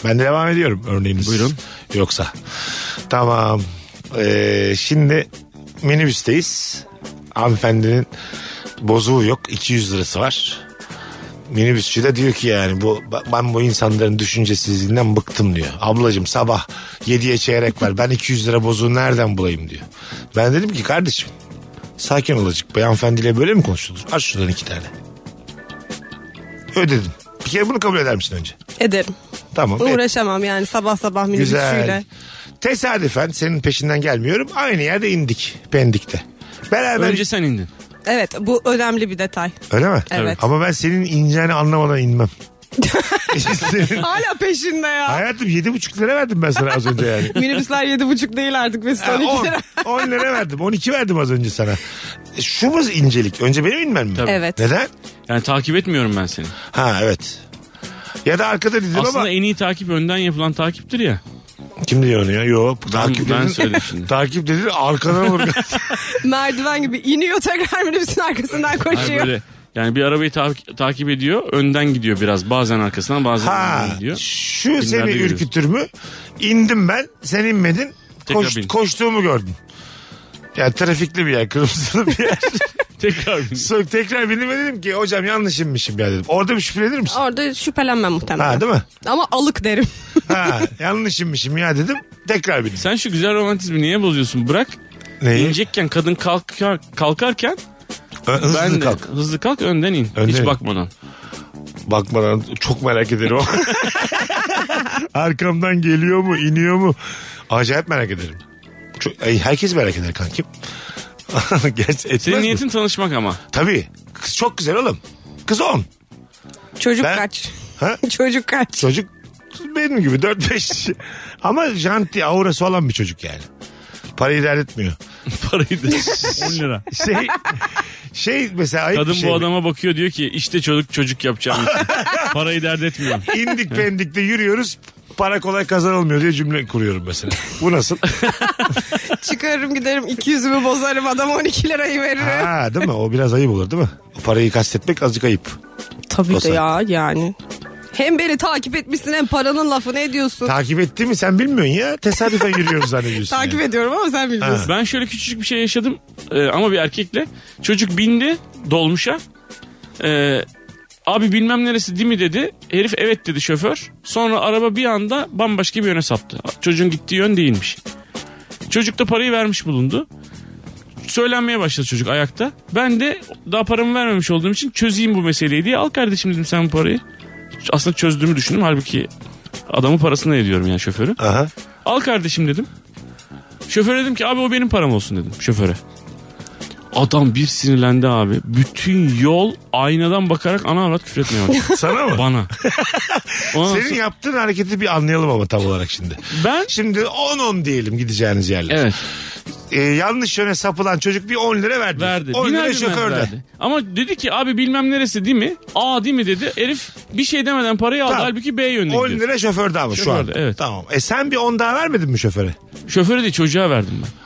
Ben de devam ediyorum örneğiniz.
Buyurun.
Yoksa. Tamam. Ee, şimdi minibüsteyiz. Hanımefendinin bozuğu yok. 200 lirası var. Minibüsçü de diyor ki yani bu ben bu insanların düşüncesizliğinden bıktım diyor. Ablacığım sabah 7'ye çeyrek var. Ben 200 lira bozuğu nereden bulayım diyor. Ben dedim ki kardeşim sakin olacak. Beyefendiyle böyle mi konuşulur? Aç şuradan iki tane. Ödedim. Bir kere bunu kabul eder misin önce?
Ederim.
Tamam. et.
Uğraşamam yani sabah sabah minibüsüyle.
Güzel. Tesadüfen senin peşinden gelmiyorum. Aynı yerde indik. Pendik'te. Beraber
Önce sen indin.
Evet bu önemli bir detay.
öyle mi?
Evet.
Ama ben senin ineceğini anlamadan inmem. Senin-
Hala peşinde ya.
Hayatım yedi buçuk lira verdim ben sana az önce yani.
Minibüsler yedi buçuk değil artık Mesut 12 lira.
10 lira verdim. 12 verdim az önce sana. E, Şu mu incelik? Önce benim inmem mi?
Tabii.
Evet.
Neden?
Yani takip etmiyorum ben seni.
Ha evet. Ya da arkada dedim
Aslında
ama
en iyi takip önden yapılan takiptir ya.
kim diyor onu ya? Yok. Takip
ben
dedin-
söyledim şimdi.
Takip dedin arkadan olur.
Merdiven gibi iniyor tekrar minibüsün arkasından
Hayır,
koşuyor.
Hani böyle yani bir arabayı ta- takip ediyor, önden gidiyor biraz. Bazen arkasından, bazen
Ha,
önden gidiyor.
şu
Filmlerde
seni
görüyoruz.
ürkütür mü? İndim ben, sen inmedin.
Tekrar
Koş-
bin.
koştuğumu gördün. Yani trafikli bir yer, kırmızılı bir yer.
Tekrar
Sonra tekrar bindim ve dedim ki hocam yanlış inmişim ya dedim. Orada bir şüphelenir misin?
Orada şüphelenmem muhtemelen.
Ha değil mi?
Ama alık derim.
Ha yanlış inmişim ya dedim. Tekrar bindim.
Sen şu güzel romantizmi niye bozuyorsun? Bırak.
Neyi?
İnecekken kadın kalkar, kalkarken
Ö- Hızlı
ben de
kalk.
hızlı kalk önden in.
Önden
Hiç
in.
bakmadan.
Bakmadan çok merak ederim. Arkamdan geliyor mu, iniyor mu? Acayip merak ederim. Çok- ay, herkes merak eder kankim. Gerçi etmez
Senin
mi?
niyetin tanışmak ama.
Tabii. Kız çok güzel oğlum. Kız 10.
Çocuk
Ben-
kaç.
Ha?
Çocuk kaç.
Çocuk benim gibi 4-5. Ama janti aurası olan bir çocuk yani. Parayı dert etmiyor.
Parayı da 10 lira.
Şey, şey mesela ayıp bir
Kadın
şey.
bu adama bakıyor diyor ki işte çocuk çocuk yapacağım. için. Parayı dert etmiyorum.
İndik pendikte yürüyoruz. Para kolay kazanılmıyor diye cümle kuruyorum mesela. Bu nasıl?
Çıkarırım giderim 200'ümü bozarım adam 12 lirayı veririm.
ha, değil mi? O biraz ayıp olur değil mi? O parayı kastetmek azıcık ayıp.
Tabii
Bozar.
de ya yani. Hem beni takip etmişsin hem paranın lafını ediyorsun.
Takip etti mi sen bilmiyorsun ya. Tesadüfen yürüyoruz zannediyorsun.
takip
yani.
ediyorum ama sen bilmiyorsun.
Ben şöyle küçücük bir şey yaşadım e, ama bir erkekle. Çocuk bindi dolmuşa. E, abi bilmem neresi değil mi dedi. Herif evet dedi şoför. Sonra araba bir anda bambaşka bir yöne saptı. Çocuğun gittiği yön değilmiş. Çocuk da parayı vermiş bulundu. Söylenmeye başladı çocuk ayakta. Ben de daha paramı vermemiş olduğum için çözeyim bu meseleyi diye. Al kardeşim dedim sen bu parayı. Aslında çözdüğümü düşündüm. Halbuki adamın parasını ediyorum yani şoförü.
Aha.
Al kardeşim dedim. Şoföre dedim ki abi o benim param olsun dedim şoföre. Adam bir sinirlendi abi. Bütün yol aynadan bakarak ana avrat küfür etmeye başladı.
Sana mı?
Bana. Ondan
Senin
sonra
yaptığın hareketi bir anlayalım ama tam olarak şimdi.
ben
Şimdi 10-10 diyelim gideceğiniz yerler.
evet
Ee, yanlış yöne sapılan çocuk bir 10 lira verdi.
verdi.
10
Biner
lira
binmez
şoförde.
verdi. Ama dedi ki abi bilmem neresi değil mi? A değil mi dedi. Herif bir şey demeden parayı aldı.
Tamam.
Halbuki B yönüne
10
gidiyor.
lira şoförde ama şu an.
Şoförde, evet.
Tamam. E sen bir 10 daha vermedin mi şoföre?
Şoföre değil çocuğa verdim ben.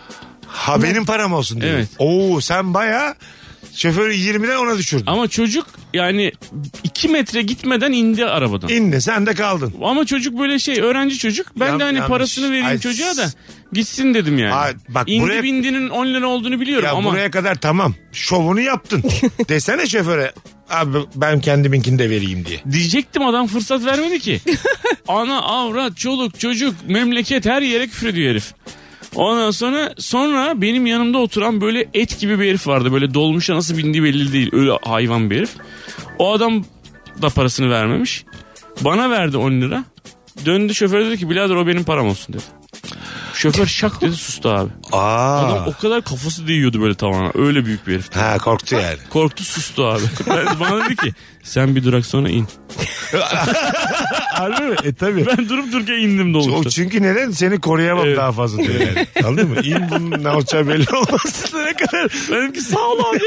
Ha benim param olsun diyor.
Evet.
Oo sen baya Şoförü 20'den ona düşürdün.
Ama çocuk yani 2 metre gitmeden indi arabadan.
İndi sen de kaldın.
Ama çocuk böyle şey öğrenci çocuk. Ben
Yan-
de hani
yanlış.
parasını vereyim
Ay,
çocuğa da gitsin dedim yani.
Ay, bak
İndi
buraya-
bindinin 10 lira olduğunu biliyorum
Ya
ama
buraya kadar tamam. Şovunu yaptın. Desene şoföre. Abi ben kendiminkini de vereyim diye.
diyecektim adam fırsat vermedi ki. Ana avrat çoluk çocuk memleket her yere küfür ediyor herif. Ondan sonra sonra benim yanımda oturan böyle et gibi bir herif vardı. Böyle dolmuşa nasıl bindiği belli değil. Öyle hayvan bir herif. O adam da parasını vermemiş. Bana verdi 10 lira. Döndü şoföre dedi ki birader o benim param olsun dedi. Şoför şak dedi sustu abi. Adam
Aa.
o kadar kafası değiyordu böyle tavana. Öyle büyük bir herif.
Ha korktu yani.
Korktu sustu abi. Ben- Bana dedi ki sen bir durak sonra in.
Harbi mi? E tabii.
Ben durup dururken
O
indim dolmuşta.
çünkü neden? Seni koruyamam
Evet.
daha fazla diyor yani. Anladın mı? İn bunun ne olacağı belli olmaz. ne kadar
Dedim ki sağ ol abi.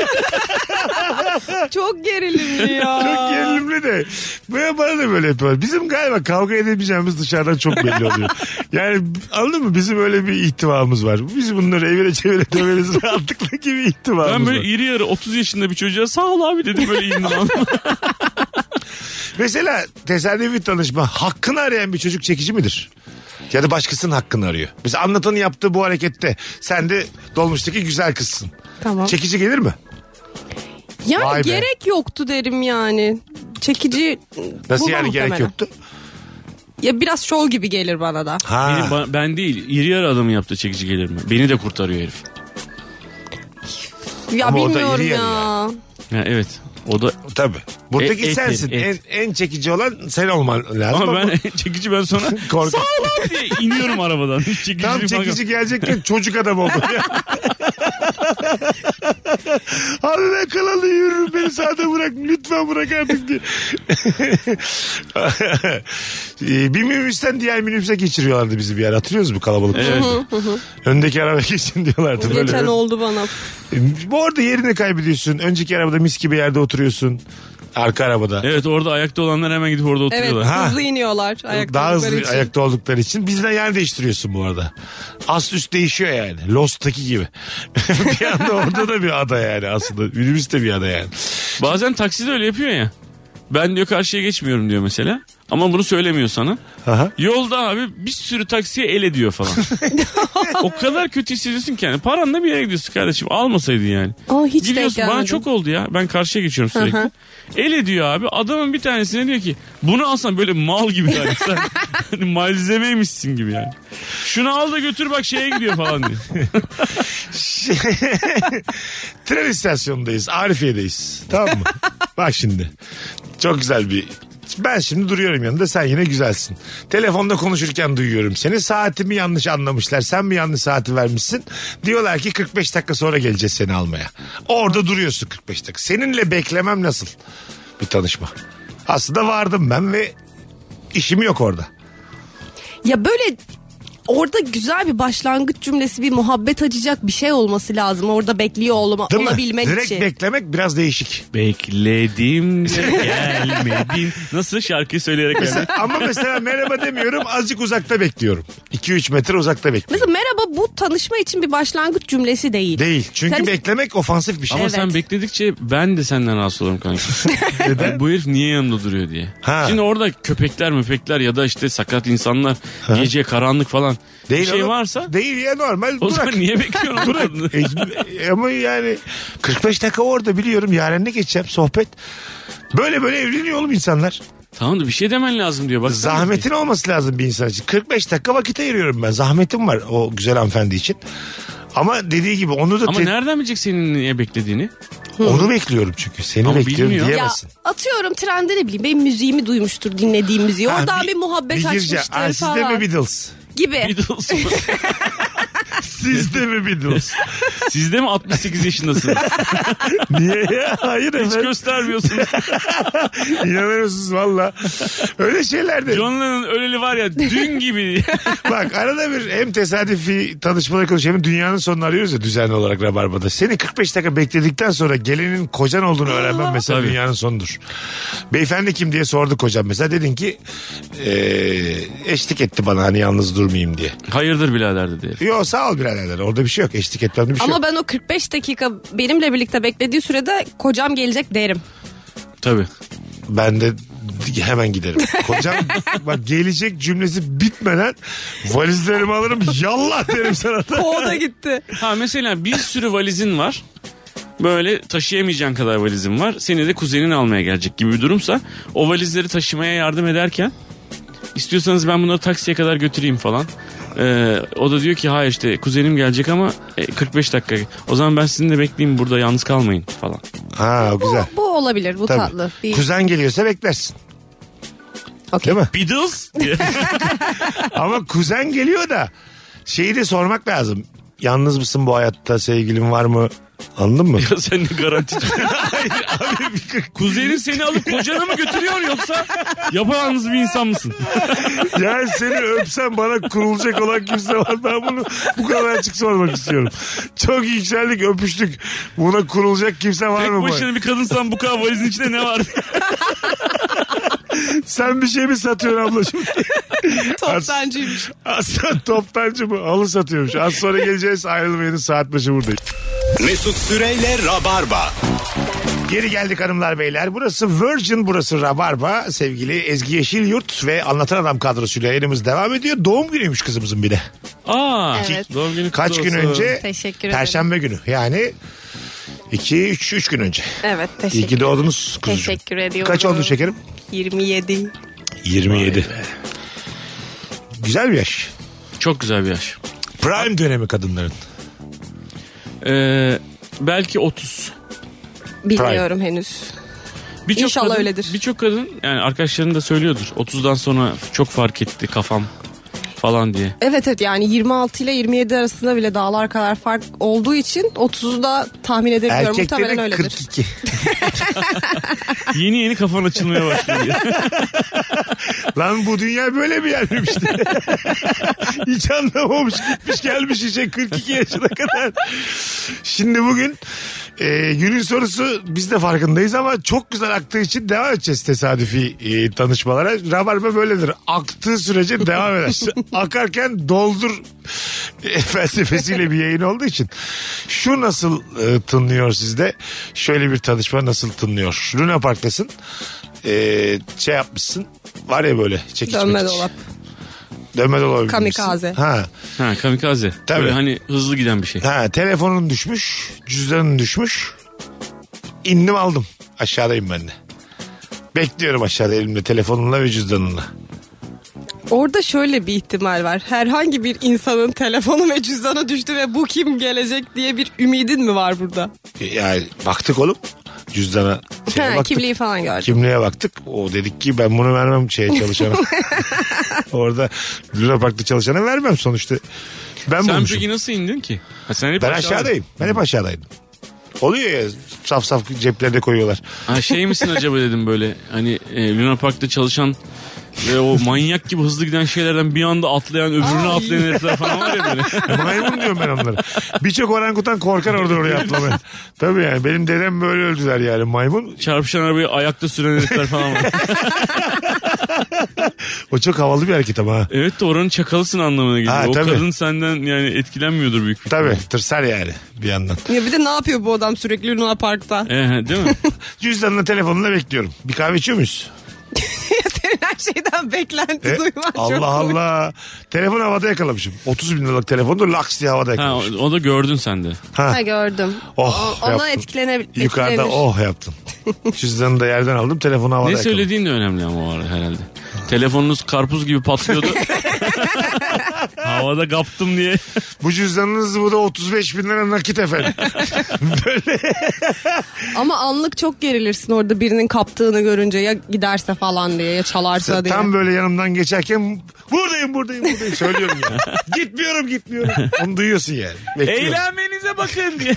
Çok gerilimli ya.
çok gerilimli de. Böyle bana da böyle yapıyorlar. Bizim galiba kavga edemeyeceğimiz dışarıdan çok belli oluyor. Yani anladın mı? Bizim öyle bir ihtivamız var. Biz bunları evine çevire döveriz rahatlıkla gibi ihtivamız
Ben böyle
var.
iri yarı 30 yaşında bir çocuğa sağ ol abi dedim böyle indim.
Mesela tesadüfi tanışma hakkını arayan bir çocuk çekici midir? Ya da başkasının hakkını arıyor. Mesela anlatanın yaptığı bu harekette sen de dolmuştaki güzel kızsın.
Tamam.
Çekici gelir mi?
yani
Vay be.
gerek yoktu derim yani. Çekici
Nasıl
bulmam
yani gerek
muhtemelen.
yoktu?
Ya biraz şov gibi gelir bana da.
Ha.
Beni ba- ben değil iri yarı adamı yaptı çekici gelir mi? Beni de kurtarıyor herif.
Ya
Ama o da
bilmiyorum
iri
ya.
yarı
Ya evet o da
Tabii. Buradaki
E- et
sensin.
yerim, et.
En, en çekici olan sen olman lazım.
ama
Ama
ben çekici ben sonra
Kork-
sağ ol abi diye iniyorum arabadan. Hiç çekici
Tam çekici gelecekken çocuk adam oldu. Abi ben kanalı yürürüm beni sağda bırak lütfen bırak artık diye. Ee, bir minibüsten diğer minibüse geçiriyorlardı bizi bir yer. Hatırlıyoruz bu kalabalık.
Evet.
Öndeki araba geçin diyorlardı. böyle. Ee,
Geçen oldu bana.
Bu arada yerini kaybediyorsun. Önceki arabada mis gibi yerde oturuyorsun. Arka arabada.
Evet orada ayakta olanlar hemen gidip orada
Evet
oturuyorlar.
Ha.
hızlı iniyorlar ayakta.
daha hızlı
oldukları için.
ayakta oldukları için. Bizden yer değiştiriyorsun bu arada. Ast üst değişiyor yani. Lost'taki gibi. bir anda orada da bir ada yani aslında. Minibüs de bir ada yani.
Bazen taksi de öyle yapıyor ya. Ben diyor karşıya geçmiyorum diyor mesela. Ama bunu söylemiyor sana.
Aha.
Yolda abi bir sürü taksiye el ediyor falan. o kadar kötü hissediyorsun ki yani. Paranla bir yere gidiyorsun kardeşim. Almasaydın yani.
Aa, hiç denk
Gidiyorsun bana
gelmedim.
çok oldu ya. Ben karşıya geçiyorum sürekli. El ediyor abi. Adamın bir tanesine diyor ki bunu alsan böyle mal gibi yani. Sen hani malzemeymişsin gibi yani. Şunu al da götür bak şeye gidiyor falan diyor.
Tren istasyonundayız. Arifiye'deyiz. Tamam mı? Bak şimdi. Çok güzel bir ben şimdi duruyorum yanında sen yine güzelsin. Telefonda konuşurken duyuyorum seni. Saatimi yanlış anlamışlar. Sen mi yanlış saati vermişsin? Diyorlar ki 45 dakika sonra geleceğiz seni almaya. Orada duruyorsun 45 dakika. Seninle beklemem nasıl? Bir tanışma. Aslında vardım ben ve işim yok orada.
Ya böyle orada güzel bir başlangıç cümlesi bir muhabbet açacak bir şey olması lazım. Orada bekliyor olma,
Değil mi?
olabilmek
Direkt
için.
beklemek biraz değişik.
Bekledim de gelmedin. Nasıl şarkıyı söyleyerek gelmedin?
Ama mesela merhaba demiyorum azıcık uzakta bekliyorum. 2-3 metre uzakta bekliyorum.
Mesela merhaba bu tanışma için bir başlangıç cümlesi değil.
Değil. Çünkü
Sen-
beklemek ofansif bir şey.
Ama
Evet.
sen bekledikçe ben de senden rahatsız olurum kanka. Neden? Bu herif niye yanımda duruyor diye.
Ha.
Şimdi orada köpekler möpekler ya da işte sakat insanlar gece karanlık falan
Değil
bir şey
oğlum.
varsa
Değil ya normal
o
durak.
zaman niye bekliyorsun? Durak.
E, Ama yani 45 dakika orada biliyorum yarenle geçeceğim sohbet. Böyle böyle evleniyor oğlum insanlar.
tamam da bir şey demen lazım diyor. Bak
Zahmetin olması lazım bir insan için. 45 dakika vakit ayırıyorum ben. Zahmetim var o güzel hanımefendi için. Ama dediği gibi onu da
Ama
te-
nereden bilecek senin niye beklediğini?
onu bekliyorum çünkü. Seni
Ama
bekliyorum
bilmiyor.
Ya
diyemezsin.
atıyorum trende ne bileyim benim müziğimi duymuştur dinlediğim müziği.
Ha,
Oradan bir, muhabbet
gireceğim.
açmıştır
Ha, siz de
falan
mi Beatles?
gibi.
Beatles mı?
Siz de mi Beatles?
Siz de mi 68 yaşındasınız?
Niye ya? Hayır
Hiç
efendim.
göstermiyorsunuz.
İnanamıyorsunuz valla. Öyle şeyler de.
John Lennon öleli var ya dün gibi.
Bak arada bir hem tesadüfi tanışmaları konuşuyor hem dünyanın sonunu arıyoruz ya düzenli olarak Rabarba'da. Seni 45 dakika bekledikten sonra gelenin kocan olduğunu öğrenmem mesela
Tabii.
dünyanın sonudur. Beyefendi kim diye sordu kocam mesela. Dedin ki eee, eşlik etti bana hani yalnız durmayayım diye.
Hayırdır birader dedi herif.
Yo sağ ol biraderler orada bir şey yok eşlik etmemde bir şey
Ama
yok.
Ama ben o 45 dakika benimle birlikte beklediği sürede kocam gelecek derim.
Tabii.
Ben de hemen giderim. Kocam bak gelecek cümlesi bitmeden valizlerimi alırım yallah derim sana da.
O da gitti.
Ha mesela bir sürü valizin var. Böyle taşıyamayacağın kadar valizin var. Seni de kuzenin almaya gelecek gibi bir durumsa o valizleri taşımaya yardım ederken istiyorsanız ben bunları taksiye kadar götüreyim falan. Ee, o da diyor ki hayır işte kuzenim gelecek ama e, 45 dakika. O zaman ben sizinle bekleyeyim burada yalnız kalmayın falan.
Ha güzel.
Bu olabilir bu
Tabii.
tatlı. Bir...
Kuzen geliyorsa beklersin.
Okey.
Değil mi?
Beatles diye.
Ama kuzen geliyor da şeyi de sormak lazım. Yalnız mısın bu hayatta sevgilin var mı? Anladın mı?
Ya sen ne garantici.
Abi bir kırk-
Kuzenin seni alıp kocana mı götürüyor yoksa yapayalnız bir insan mısın?
yani seni öpsem bana kurulacak olan kimse var. Ben bunu bu kadar açık sormak istiyorum. Çok yükseldik öpüştük. Buna kurulacak kimse var
Tek
mı? bu-
başına bir kadınsan bu kadar valizin içinde ne var?
Sen bir şey mi satıyorsun ablacığım?
Toptancıymış.
Aslan toptancı mı? Halı satıyormuş. Az sonra geleceğiz ayrılmayınız saat başı buradayız.
Mesut Süreyle Rabarba.
Geri geldik hanımlar beyler. Burası Virgin, burası Rabarba. Sevgili Ezgi Yeşilyurt ve Anlatan Adam kadrosuyla yayınımız devam ediyor. Doğum günüymüş kızımızın bir de.
Aa,
Evet.
doğum günü kutlu
Kaç gün
olsun.
önce?
Teşekkür ederim.
Perşembe günü. Yani 2 3 3 gün önce.
Evet
İyi
teşekkür
ki doğdunuz kuzucuğum.
Teşekkür ediyorum.
Kaç oldun şekerim?
27.
27. Güzel bir yaş.
Çok güzel bir yaş.
Prime dönemi kadınların.
Ee, belki 30.
Bilmiyorum henüz.
Birçok
İnşallah
kadın-
öyledir.
Birçok kadın yani arkadaşların da söylüyordur. 30'dan sonra çok fark etti kafam falan diye.
Evet evet yani 26 ile 27 arasında bile dağlar kadar fark olduğu için 30'u da tahmin edebiliyorum. Muhtemelen
Erkeklerin
öyledir.
42.
Yeni yeni kafan açılmaya başlıyor.
Lan bu dünya böyle bir yermiş işte. Hiç anlamamış gitmiş gelmiş işe 42 yaşına kadar. Şimdi bugün e, günün sorusu biz de farkındayız ama çok güzel aktığı için devam edeceğiz tesadüfi e, tanışmalara. Rabarba böyledir. Aktığı sürece devam eder. Akarken doldur e, felsefesiyle bir yayın olduğu için. Şu nasıl e, tınlıyor sizde? Şöyle bir tanışma nasıl tınlıyor? Luna Park'tasın. E, şey yapmışsın. Var ya böyle çekiç
Dönme
mekiç.
dolap.
Dönme dolabı.
Kamikaze.
bilmişsin. Ha.
ha kamikaze.
Tabii.
Böyle hani hızlı giden bir şey.
Ha telefonun düşmüş, cüzdanın düşmüş. İndim aldım. Aşağıdayım ben de. Bekliyorum aşağıda elimde telefonumla ve cüzdanımla.
Orada şöyle bir ihtimal var. Herhangi bir insanın telefonu ve cüzdanı düştü ve bu kim gelecek diye bir ümidin mi var burada?
Yani baktık oğlum cüzdana. Şeye
Ha,
baktık.
kimliği falan gördüm.
Kimliğe baktık. O dedik ki ben bunu vermem şeye çalışana. Orada Luna Park'ta çalışana vermem sonuçta. Ben
Sen
bulmuşum.
peki nasıl indin ki? Ha, sen hep
Ben
aşağıda-
aşağıdayım. Ben hep aşağıdaydım. Oluyor ya saf saf ceplerde koyuyorlar.
Ha, şey misin acaba dedim böyle hani e, Luna Park'ta çalışan ve o manyak gibi hızlı giden şeylerden bir anda atlayan öbürüne
Ay.
atlayan herifler falan var ya böyle.
Maymun diyorum ben onlara. Birçok orangutan korkar oradan oraya atlamaya. Tabii yani benim dedem böyle öldüler yani maymun.
Çarpışan arabayı ayakta süren herifler falan var.
O çok havalı bir hareket ama ha.
Evet de oranın çakalısın anlamına geliyor.
Ha,
o
tabii.
kadın senden yani etkilenmiyordur büyük bir
Tabii tırsar yani bir yandan.
Ya bir de ne yapıyor bu adam sürekli Luna Park'ta?
Ee, değil mi?
Cüzdanla telefonla bekliyorum. Bir kahve içiyor muyuz?
Senin her şeyden beklenti
E,
duymak çok
Allah
komik.
Allah. Telefon havada yakalamışım. 30 bin liralık telefonu da laks diye havada
ha,
yakalamışım.
o, o da gördün sen de.
Ha,
Ha, gördüm.
Oh,
O- ona
yaptım.
etkilenebilir.
Yukarıda oh yaptım. Cüzdanı da yerden aldım telefonu havada
ne
yakaladım.
söylediğin de önemli ama o ara herhalde. Telefonunuz karpuz gibi patlıyordu. Havada kaptım diye.
Bu cüzdanınız bu da 35 bin lira nakit efendim.
Ama anlık çok gerilirsin orada birinin kaptığını görünce ya giderse falan diye ya çalarsa diye.
Tam böyle yanımdan geçerken buradayım buradayım buradayım söylüyorum ya. gitmiyorum gitmiyorum. Onu duyuyorsun yani. Bekliyorum.
Eğlenmenize bakın diye.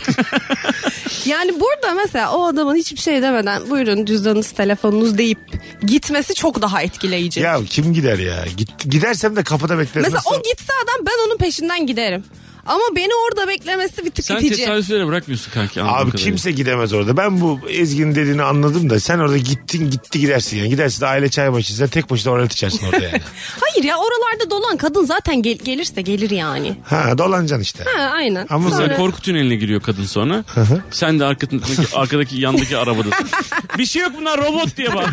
Yani burada mesela o adamın hiçbir şey demeden buyurun cüzdanınız telefonunuz deyip gitmesi çok daha etkileyici.
Ya kim gider ya? Git, gidersem de kapıda beklerim.
mesela
Nasıl-
o gitse adam ben onun peşinden giderim. Ama beni orada beklemesi bir tık
Sen
itici.
tesadüflere bırakmıyorsun kanki. anladığım
Abi
kadarıyla.
kimse gidemez orada. Ben bu Ezgi'nin dediğini anladım da sen orada gittin gitti gidersin yani. Gidersin de aile çay başı sen tek başına oralet içersin orada yani.
Hayır ya oralarda dolan kadın zaten gel- gelirse gelir yani.
ha dolanacaksın işte.
Ha aynen.
Ama
Mesela
Sonra-
korku tüneline giriyor kadın sonra. Sen de arkadaki, arkadaki yandaki arabadasın. bir şey yok bunlar robot diye bak.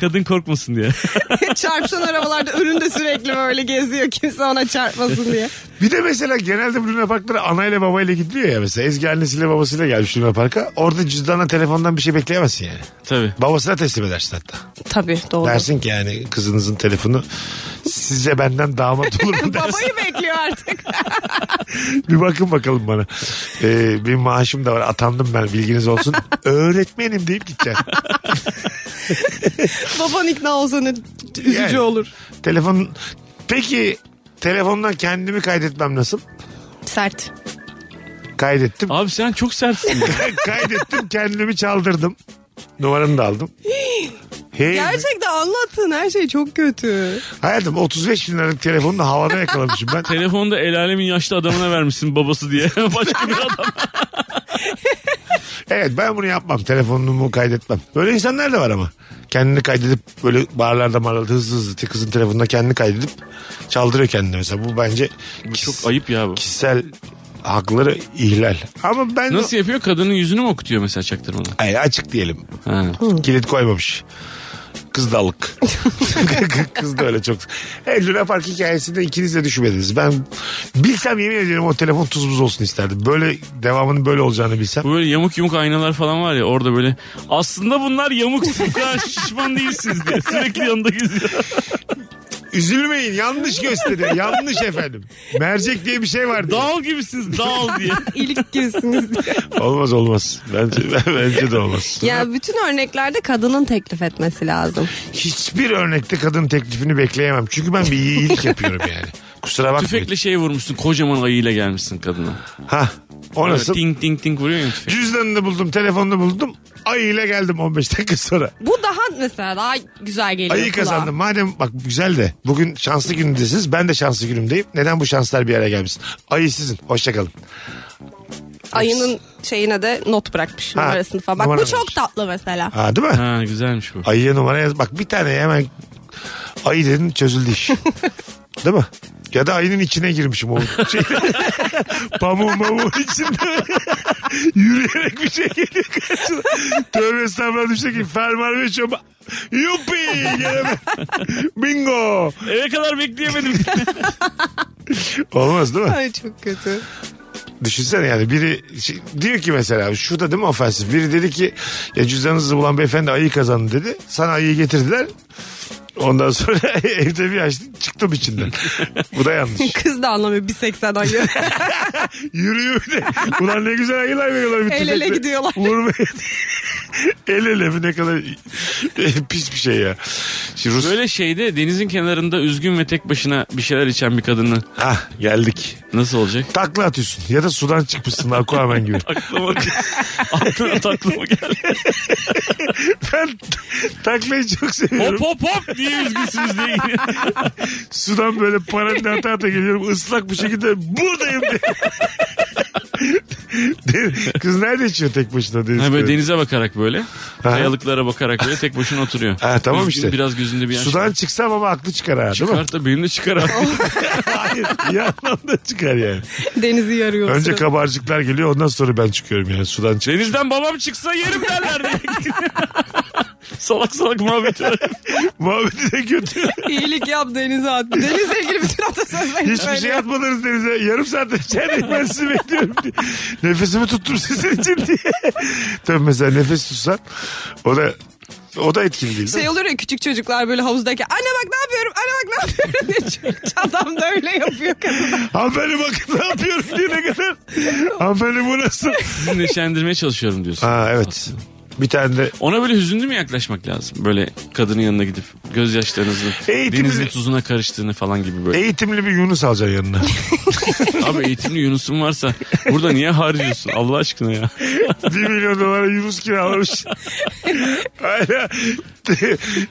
kadın korkmasın diye.
Çarpışan arabalarda önünde sürekli böyle geziyor kimse ona çarpmasın diye.
Bir de mesela genelde bu Luna Park'lara anayla babayla gidiliyor ya mesela. Ezgi annesiyle babasıyla gelmiş Luna Park'a. Orada cüzdanla telefondan bir şey bekleyemezsin yani.
Tabii.
Babasına teslim edersin hatta.
Tabii doğru.
Dersin ki yani kızınızın telefonu sizce benden damat olur mu dersin.
Babayı bekliyor artık.
bir bakın bakalım bana. Ee, bir maaşım da var atandım ben bilginiz olsun. Öğretmenim deyip gideceğim.
Baban ikna olsa ne üzücü
Yani.
olur.
Telefon peki telefondan kendimi kaydetmem nasıl?
Sert.
Kaydettim.
Abi sen çok sertsin.
kaydettim kendimi çaldırdım. Numaranı da aldım. Hey,
Gerçekten anlattığın her şey çok kötü.
hayatım 35 bin liralık telefonu da havada yakalamışım ben.
Telefonda el alemin yaşlı adamına vermişsin babası diye. Başka bir adam.
Evet ben bunu yapmam. Telefonumu kaydetmem. Böyle insanlar da var ama. Kendini kaydedip böyle barlarda marlarda hızlı hızlı te- kızın telefonuna kendini kaydedip çaldırıyor kendini mesela. Bu bence
Bu
kişis-
çok ayıp ya bu.
kişisel hakları ihlal. Ama ben
Nasıl yapıyor? Kadının yüzünü mü okutuyor mesela çaktırmadan?
Hayır, açık diyelim.
Ha.
Kilit koymamış. Kız dalık. Kız da öyle çok. Evet Luna Park hikayesinde ikiniz de düşmediniz. Ben bilsem yemin ediyorum o telefon tuz buz olsun isterdim. Böyle devamının böyle olacağını bilsem.
Bu böyle yamuk yumuk aynalar falan var ya orada böyle aslında bunlar yamuk bu kadar şişman değilsiniz diye sürekli yanında geziyor.
Üzülmeyin yanlış gösteriyor. yanlış efendim. Mercek diye bir şey var. diye.
Dal gibisiniz dal diye.
İyilik girsiniz diye.
Olmaz olmaz. Bence, bence de olmaz.
Ya bütün örneklerde kadının teklif etmesi lazım.
Hiçbir örnekte kadın teklifini bekleyemem. Çünkü ben bir iyilik yapıyorum yani. Kusura bakmayın.
Tüfekle şey vurmuşsun kocaman ayıyla gelmişsin kadına.
Ha, o
Böyle
nasıl?
Ting ting ting vuruyor ya tüfek.
Cüzdanını buldum, telefonunu buldum. Ay ile geldim 15 dakika sonra.
Bu daha mesela daha güzel geliyor.
Ayı
kulağa.
kazandım. Madem bak güzel de bugün şanslı günündesiniz. Ben de şanslı günümdeyim. Neden bu şanslar bir araya gelmesin? Ayı sizin. Hoşçakalın.
Ayının şeyine de not bırakmış
Ha,
numarasını falan. Bak
numara
bu çok
vermiş.
tatlı mesela.
Ha değil mi?
Ha güzelmiş bu.
Ayıya numara yaz. Bak bir tane hemen ayı dedin çözüldü iş. değil mi? Ya da ayının içine girmişim o şey. Pamuğu mamuğun içinde. Yürüyerek bir şey geliyor karşına. Tövbe estağfurullah düştü ki fermuar ve çoba. Yuppi! Gelemem. Bingo!
Eve kadar bekleyemedim.
Olmaz değil mi?
Ay çok kötü.
Düşünsene yani biri şey- diyor ki mesela şurada değil mi ofensif? Biri dedi ki ya cüzdanınızı bulan beyefendi ayı kazandı dedi. Sana ayıyı getirdiler. Ondan sonra evde bir açtım çıktım içinden. Bu da yanlış.
Kız da anlamıyor 1.80 ayı.
Yürüyor bir de. Ulan ne güzel ayılar veriyorlar. Bir
El ele
tüfekle.
gidiyorlar.
Vurmaya. El ele mi ne kadar pis bir şey ya. Şimdi Rus...
Böyle şeyde denizin kenarında üzgün ve tek başına bir şeyler içen bir kadını
Hah geldik.
nasıl olacak?
Takla atıyorsun ya da sudan çıkmışsın Aquaman gibi.
Aklıma, aklıma, aklıma geldi.
ben taklayı çok seviyorum.
Hop hop hop diye üzgünsünüz diye.
Sudan böyle paralel ata ata geliyorum. Islak bir şekilde buradayım diye. De- Kız nerede içiyor tek başına deniz
Ha, böyle
kenarında?
denize bakarak böyle. Kayalıklara bakarak böyle tek başına oturuyor.
Ha, tamam
Üzgün,
işte.
Biraz gözünde bir yaş.
Sudan çıksam ama aklı çıkar ha değil mi?
Çıkar da benim de çıkar abi.
Hayır bir anlamda çıkar yani.
Denizi yarıyor.
Önce kabarcıklar geliyor ondan sonra ben çıkıyorum yani sudan çık.
Denizden babam çıksa yerim derler diye. salak salak muhabbet var.
Muhabbeti de kötü.
İyilik yap denize at. Denizle ilgili bütün atasözlerini
Hiçbir şey atmadınız denize. Yarım saat içeride ben sizi bekliyorum diye. Nefesimi tuttum sizin için diye. Tabii mesela nefes tutsan o da o da etkili değil. değil mi?
Şey olur ya küçük çocuklar böyle havuzdaki anne bak ne yapıyorum anne bak ne yapıyorum diye çocuk adam da öyle yapıyor kadına.
Hanımefendi bakın ne yapıyorum diye ne kadar. Hanımefendi bu nasıl?
Sizi neşelendirmeye çalışıyorum diyorsun.
Ha evet. Bir tane de
Ona böyle hüzünlü mü yaklaşmak lazım? Böyle kadının yanına gidip gözyaşlarınızın
Eğitimli-
denizin tuzuna karıştığını falan gibi böyle.
eğitimli bir Yunus alacaksın yanına.
Abi eğitimli Yunus'un varsa burada niye harcıyorsun Allah aşkına ya?
1 milyon dolara Yunus kiralamış. Hala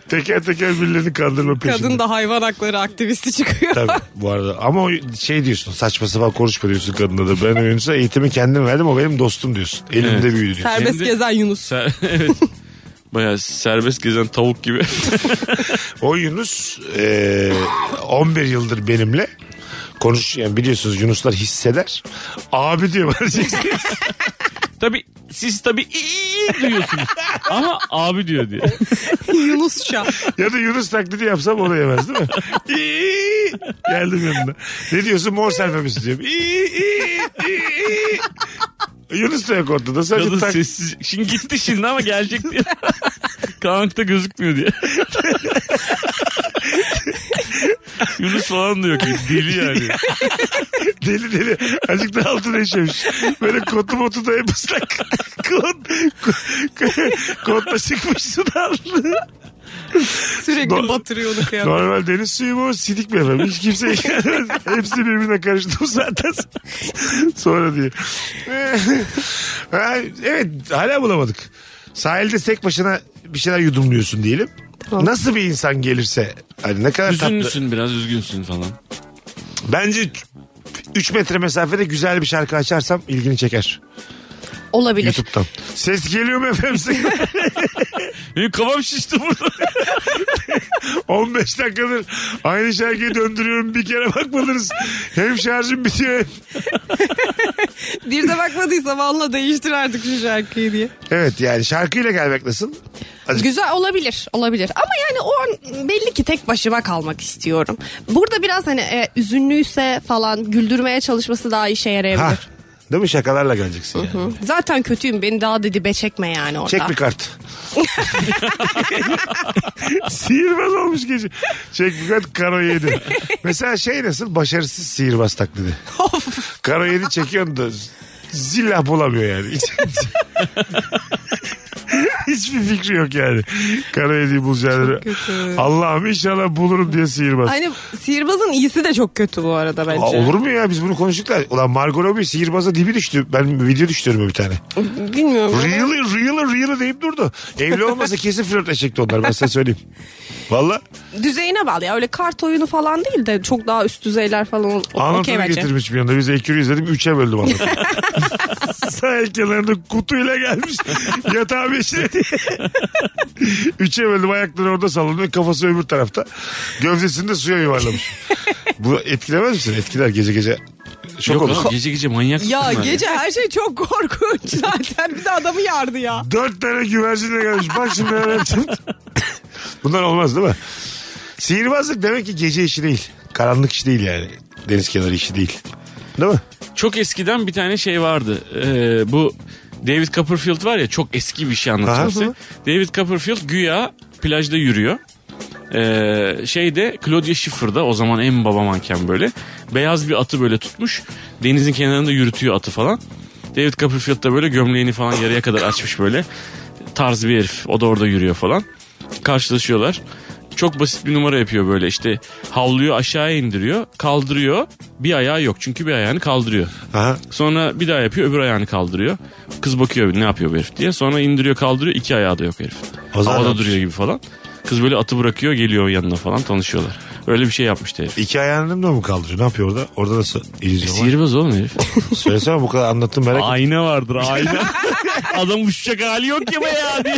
teker teker birilerini kandırma peşinde.
Kadın da hayvan hakları aktivisti çıkıyor.
Tabii bu arada ama o şey diyorsun saçma sapan konuşma diyorsun kadına da. Ben oyuncusa eğitimi kendim verdim o benim dostum diyorsun. Elimde
Evet.
büyüdü diyorsun.
Serbest
Şimdi-
gezen Yunus.
Ser- evet. Bayağı serbest gezen tavuk gibi.
O Yunus e, 11 yıldır benimle konuş yani biliyorsunuz Yunuslar hisseder. Abi diyor bana diyeceksin.
tabii siz tabii iyi duyuyorsunuz. Ama abi diyor diye.
Yunusça.
ya da Yunus taklidi yapsam o da yemez değil mi? İyi. Geldim yanına. Ne diyorsun mor serpemesi diyorum. İyi, iyi, iyi, iyi. Yunus da yok ortada. Sadece
Kadın
tak-
sessiz. Şimdi gitti şimdi ama gelecek diye. Karanlıkta gözükmüyor diye. Yunus falan da yok. Deli yani.
Deli deli. Azıcık da altına işemiş. Böyle kotu motu da hep ıslak. Kot, ko- kotla çıkmış sudan.
Sürekli
Do-
batırıyor onu kıyamete.
Normal deniz suyu bu sidik mi efendim? Hiç kimse Hepsi birbirine karıştı zaten. Sonra diye. Ha, evet hala bulamadık. Sahilde tek başına bir şeyler yudumluyorsun diyelim.
Tamam.
Nasıl bir insan gelirse hani ne kadar tatlı.
Üzünlüsün biraz üzgünsün falan.
Bence 3 metre mesafede güzel bir şarkı açarsam ilgini çeker
Olabilir.
YouTube'dan. Ses geliyor mu efendim?
Benim kafam şişti burada.
15 dakikadır aynı şarkıyı döndürüyorum bir kere bakmadınız. Hem şarjım bitiyor. hem-
Bir de bakmadıysa valla değiştir artık şu şarkıyı diye.
Evet yani şarkıyla gelmek nasıl? Azıcık-
Güzel olabilir olabilir ama yani o an belli ki tek başıma kalmak istiyorum. Burada biraz hani e, üzünlüyse falan güldürmeye çalışması daha işe yarayabilir.
Ha, değil mi şakalarla geleceksin yani.
Hı. Zaten kötüyüm beni daha da dibe çekme yani orada.
Çek bir kart. sihirbaz olmuş gece. Çek bir kart karo yedi. Mesela şey nasıl başarısız sihirbaz taklidi. karo yedi çekiyorsun da zillah bulamıyor yani. Hiç- Hiçbir fikri yok yani. Kara yediği bulacağını.
kötü.
Allah'ım inşallah bulurum diye sihirbaz.
Hani sihirbazın iyisi de çok kötü bu arada bence.
Aa, olur mu ya biz bunu konuştuk da. Ulan Margot Robbie sihirbaza dibi düştü. Ben video düştürüyorum bir tane.
Bilmiyorum.
Really really really deyip durdu. Evli olmasa kesin flörtle çekti onlar ben size söyleyeyim. Valla
Düzeyine bağlı ya öyle kart oyunu falan değil de çok daha üst düzeyler falan o- okey
anlatımı
bence.
getirmiş bir yanda. Biz ekürü izledim üçe böldüm anlatımı. Sahil kenarında kutuyla gelmiş. Yatağı beşine diye. Üçe böldüm ayakları orada sallanıyor. Kafası öbür tarafta. Gövdesini de suya yuvarlamış. Bu etkilemez misin? Etkiler gece gece. Şok
Yok
olur.
abi gece gece manyak.
Ya
bunlar
gece her şey çok korkunç zaten bir de adamı yardı ya.
Dört tane güvercinle gelmiş. Bak şimdi neler yapacağım. Bunlar olmaz değil mi? Sihirbazlık demek ki gece işi değil. Karanlık işi değil yani. Deniz kenarı işi değil. Değil mi?
Çok eskiden bir tane şey vardı. Ee, bu David Copperfield var ya çok eski bir şey anlatacağım
Aha.
size. David Copperfield güya plajda yürüyor. Ee, şeyde Claudia Schiffer da o zaman en baba manken böyle. Beyaz bir atı böyle tutmuş. Denizin kenarında yürütüyor atı falan. David Copperfield da böyle gömleğini falan yarıya kadar açmış böyle. Tarz bir herif. O da orada yürüyor falan. Karşılaşıyorlar. Çok basit bir numara yapıyor böyle işte havluyu aşağıya indiriyor kaldırıyor bir ayağı yok çünkü bir ayağını kaldırıyor
Aha.
Sonra bir daha yapıyor öbür ayağını kaldırıyor. Kız bakıyor ne yapıyor bu herif diye. Sonra indiriyor kaldırıyor iki ayağı da yok herif.
O zaman
Havada
yapmış.
duruyor gibi falan. Kız böyle atı bırakıyor geliyor yanına falan tanışıyorlar. Öyle bir şey yapmıştı herif.
İki ayağını da mı kaldırıyor? Ne yapıyor orada? Orada nasıl illüzyon var?
Sihirbaz oğlum herif.
Söylesene bu kadar anlattım merak ettim.
ayna vardır ayna. Adam uçacak hali yok ya bayağı diye.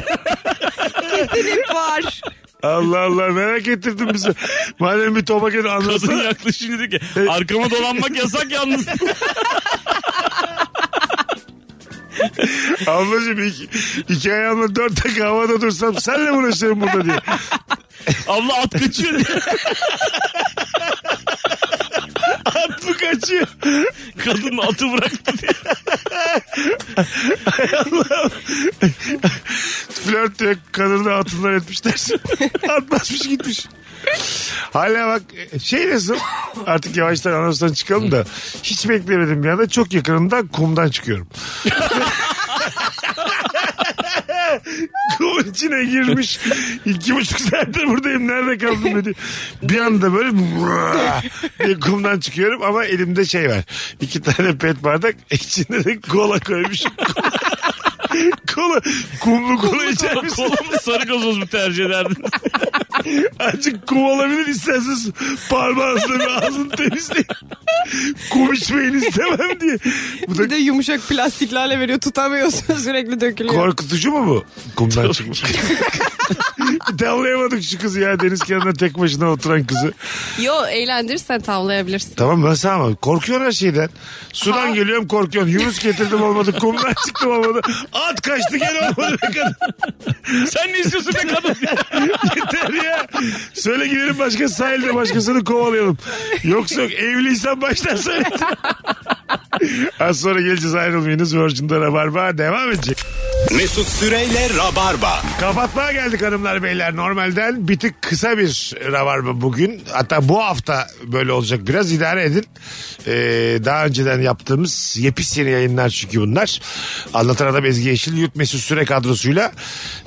Klip var.
Allah Allah merak ettirdin bizi. Madem bir topaket
Kadın
anlatsana.
yaklaşınca dedi ki arkama dolanmak yasak yalnız.
Ablacığım iki, iki ayağımla dört dakika havada dursam senle mi uğraşırım burada diye.
Abla at kaçıyor diye.
At mı kaçıyor?
Kadın atı bıraktı diye.
Flört diye kadını atınlar etmişler. Atmazmış gitmiş. Hala bak şey nasıl artık yavaştan anonsdan çıkalım da hiç beklemedim bir anda çok yakınında kumdan çıkıyorum. Kumun içine girmiş. İki buçuk saattir buradayım nerede kaldım dedi. Bir anda böyle "Vaa!" diye kumdan çıkıyorum ama elimde şey var. İki tane pet bardak içinde de kola koymuşum. kola. Kumlu kola içer misin?
Kola mı sarı gazoz mu tercih ederdin?
Azıcık kum olabilir isterseniz parmağınızla bir ağzını temizleyin. kum içmeyin istemem diye. Bu da
Bir de yumuşak plastiklerle veriyor tutamıyorsun sürekli dökülüyor.
korkutucu mu bu? Kumdan çıkmış. Tavlayamadık şu kızı ya deniz kenarında tek başına oturan kızı.
Yo eğlendirirsen tavlayabilirsin.
Tamam nasıl ama korkuyorsun her şeyden. Sudan geliyorum korkuyorsun. Yunus getirdim olmadı. Kumdan çıktım olmadı. At kaçtı gene olmadı. be kadın.
Sen ne istiyorsun be kadın?
Yeter ya. Söyle gidelim başka sahilde başkasını kovalayalım. Yoksa evliysen baştan söyle. Az sonra geleceğiz ayrılmayınız. Virgin'de Rabarba devam edecek.
Mesut Süreyle Rabarba.
Kapatmaya geldik hanımlar beyler. Normalden bir tık kısa bir rabarba bugün. Hatta bu hafta böyle olacak biraz idare edin. Ee, daha önceden yaptığımız yepyeni yayınlar çünkü bunlar. Anlatan Adam Ezgi Yeşil Yurt Mesut Süre kadrosuyla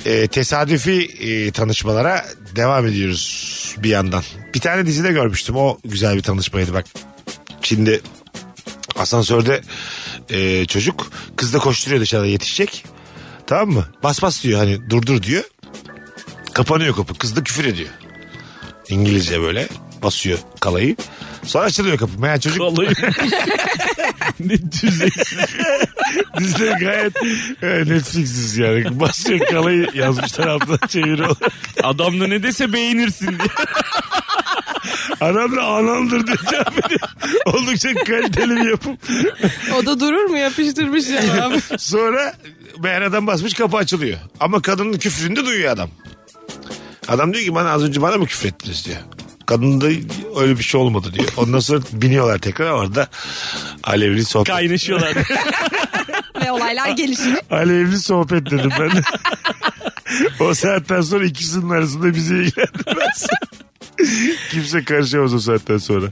e, tesadüfi e, tanışmalara devam ediyoruz bir yandan. Bir tane dizide görmüştüm o güzel bir tanışmaydı bak. Çin'de asansörde e, çocuk kız da koşturuyor dışarıda yetişecek. Tamam mı? Bas bas diyor hani durdur diyor. Kapanıyor kapı. Kız da küfür ediyor. İngilizce böyle basıyor kalayı. Sonra açılıyor kapı. Meğer çocuk
Vallahi. ne düzey.
dizide gayet e, Netflix'iz yani. Basıyor kalayı yazmışlar altına çeviriyor.
Adam da ne dese beğenirsin diye.
Adam da anamdır diyor. cevap veriyor. Oldukça kaliteli bir yapım.
O da durur mu yapıştırmış ya.
Sonra meğer adam basmış kapı açılıyor. Ama kadının küfrünü de duyuyor adam. Adam diyor ki bana az önce bana mı küfrettiniz diyor. Kadın da öyle bir şey olmadı diyor. Ondan sonra biniyorlar tekrar orada alevli sohbet.
Kaynaşıyorlar.
Ve olaylar gelişir.
Alevli sohbet dedim ben. o saatten sonra ikisinin arasında bizi ilgilendirmez. Kimse karışamaz o saatten sonra.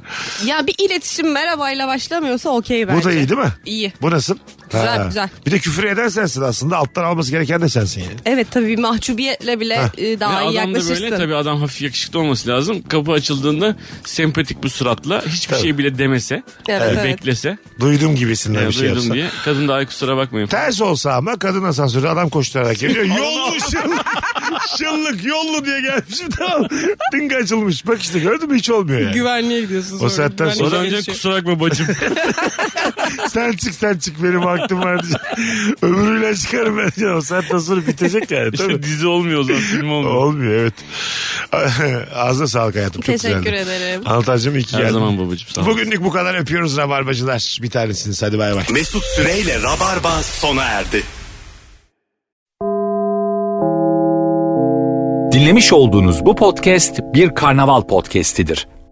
Ya bir iletişim merhabayla başlamıyorsa okey bence.
Bu da iyi değil mi?
İyi.
Bu nasıl?
Güzel, güzel.
Bir de küfür eden sensin aslında. Alttan alması gereken de sensin yani.
Evet tabii bir mahcubiyetle bile e,
Ve
daha iyi
adam da
yaklaşırsın.
böyle tabii adam hafif yakışıklı olması lazım. Kapı açıldığında sempatik bir suratla hiçbir şey bile demese.
Evet,
e,
evet.
Beklese.
Duydum gibisinden
Ya
bir şey
duydum
yapsa.
diye. Kadın da ay kusura bakmayın.
Ters olsa ama kadın asansörde adam koşturarak geliyor. yollu şıllık, şıllık yollu diye gelmişim tamam. Ding açılmış. Bak işte gördün mü hiç olmuyor yani.
Güvenliğe gidiyorsun
O saatten
Güvenlik
O
sonra-
zaman önce
gelişiyor.
kusura bakma bacım.
sen çık sen çık benim vaktim var diye. Öbürüyle çıkarım ben diye. O saatten sonra bitecek yani tabii.
İşte dizi olmuyor o zaman film olmuyor.
Olmuyor evet. Ağzına sağlık hayatım. Çok
Teşekkür
güzeldi.
ederim.
Anlatacağım iki
Her
geldi.
zaman babacım sağ ol.
Bugünlük bu kadar öpüyoruz rabarbacılar. Bir tanesiniz hadi bay bay.
Mesut Süreyle Rabarba sona erdi.
Dinlemiş olduğunuz bu podcast bir karnaval podcastidir.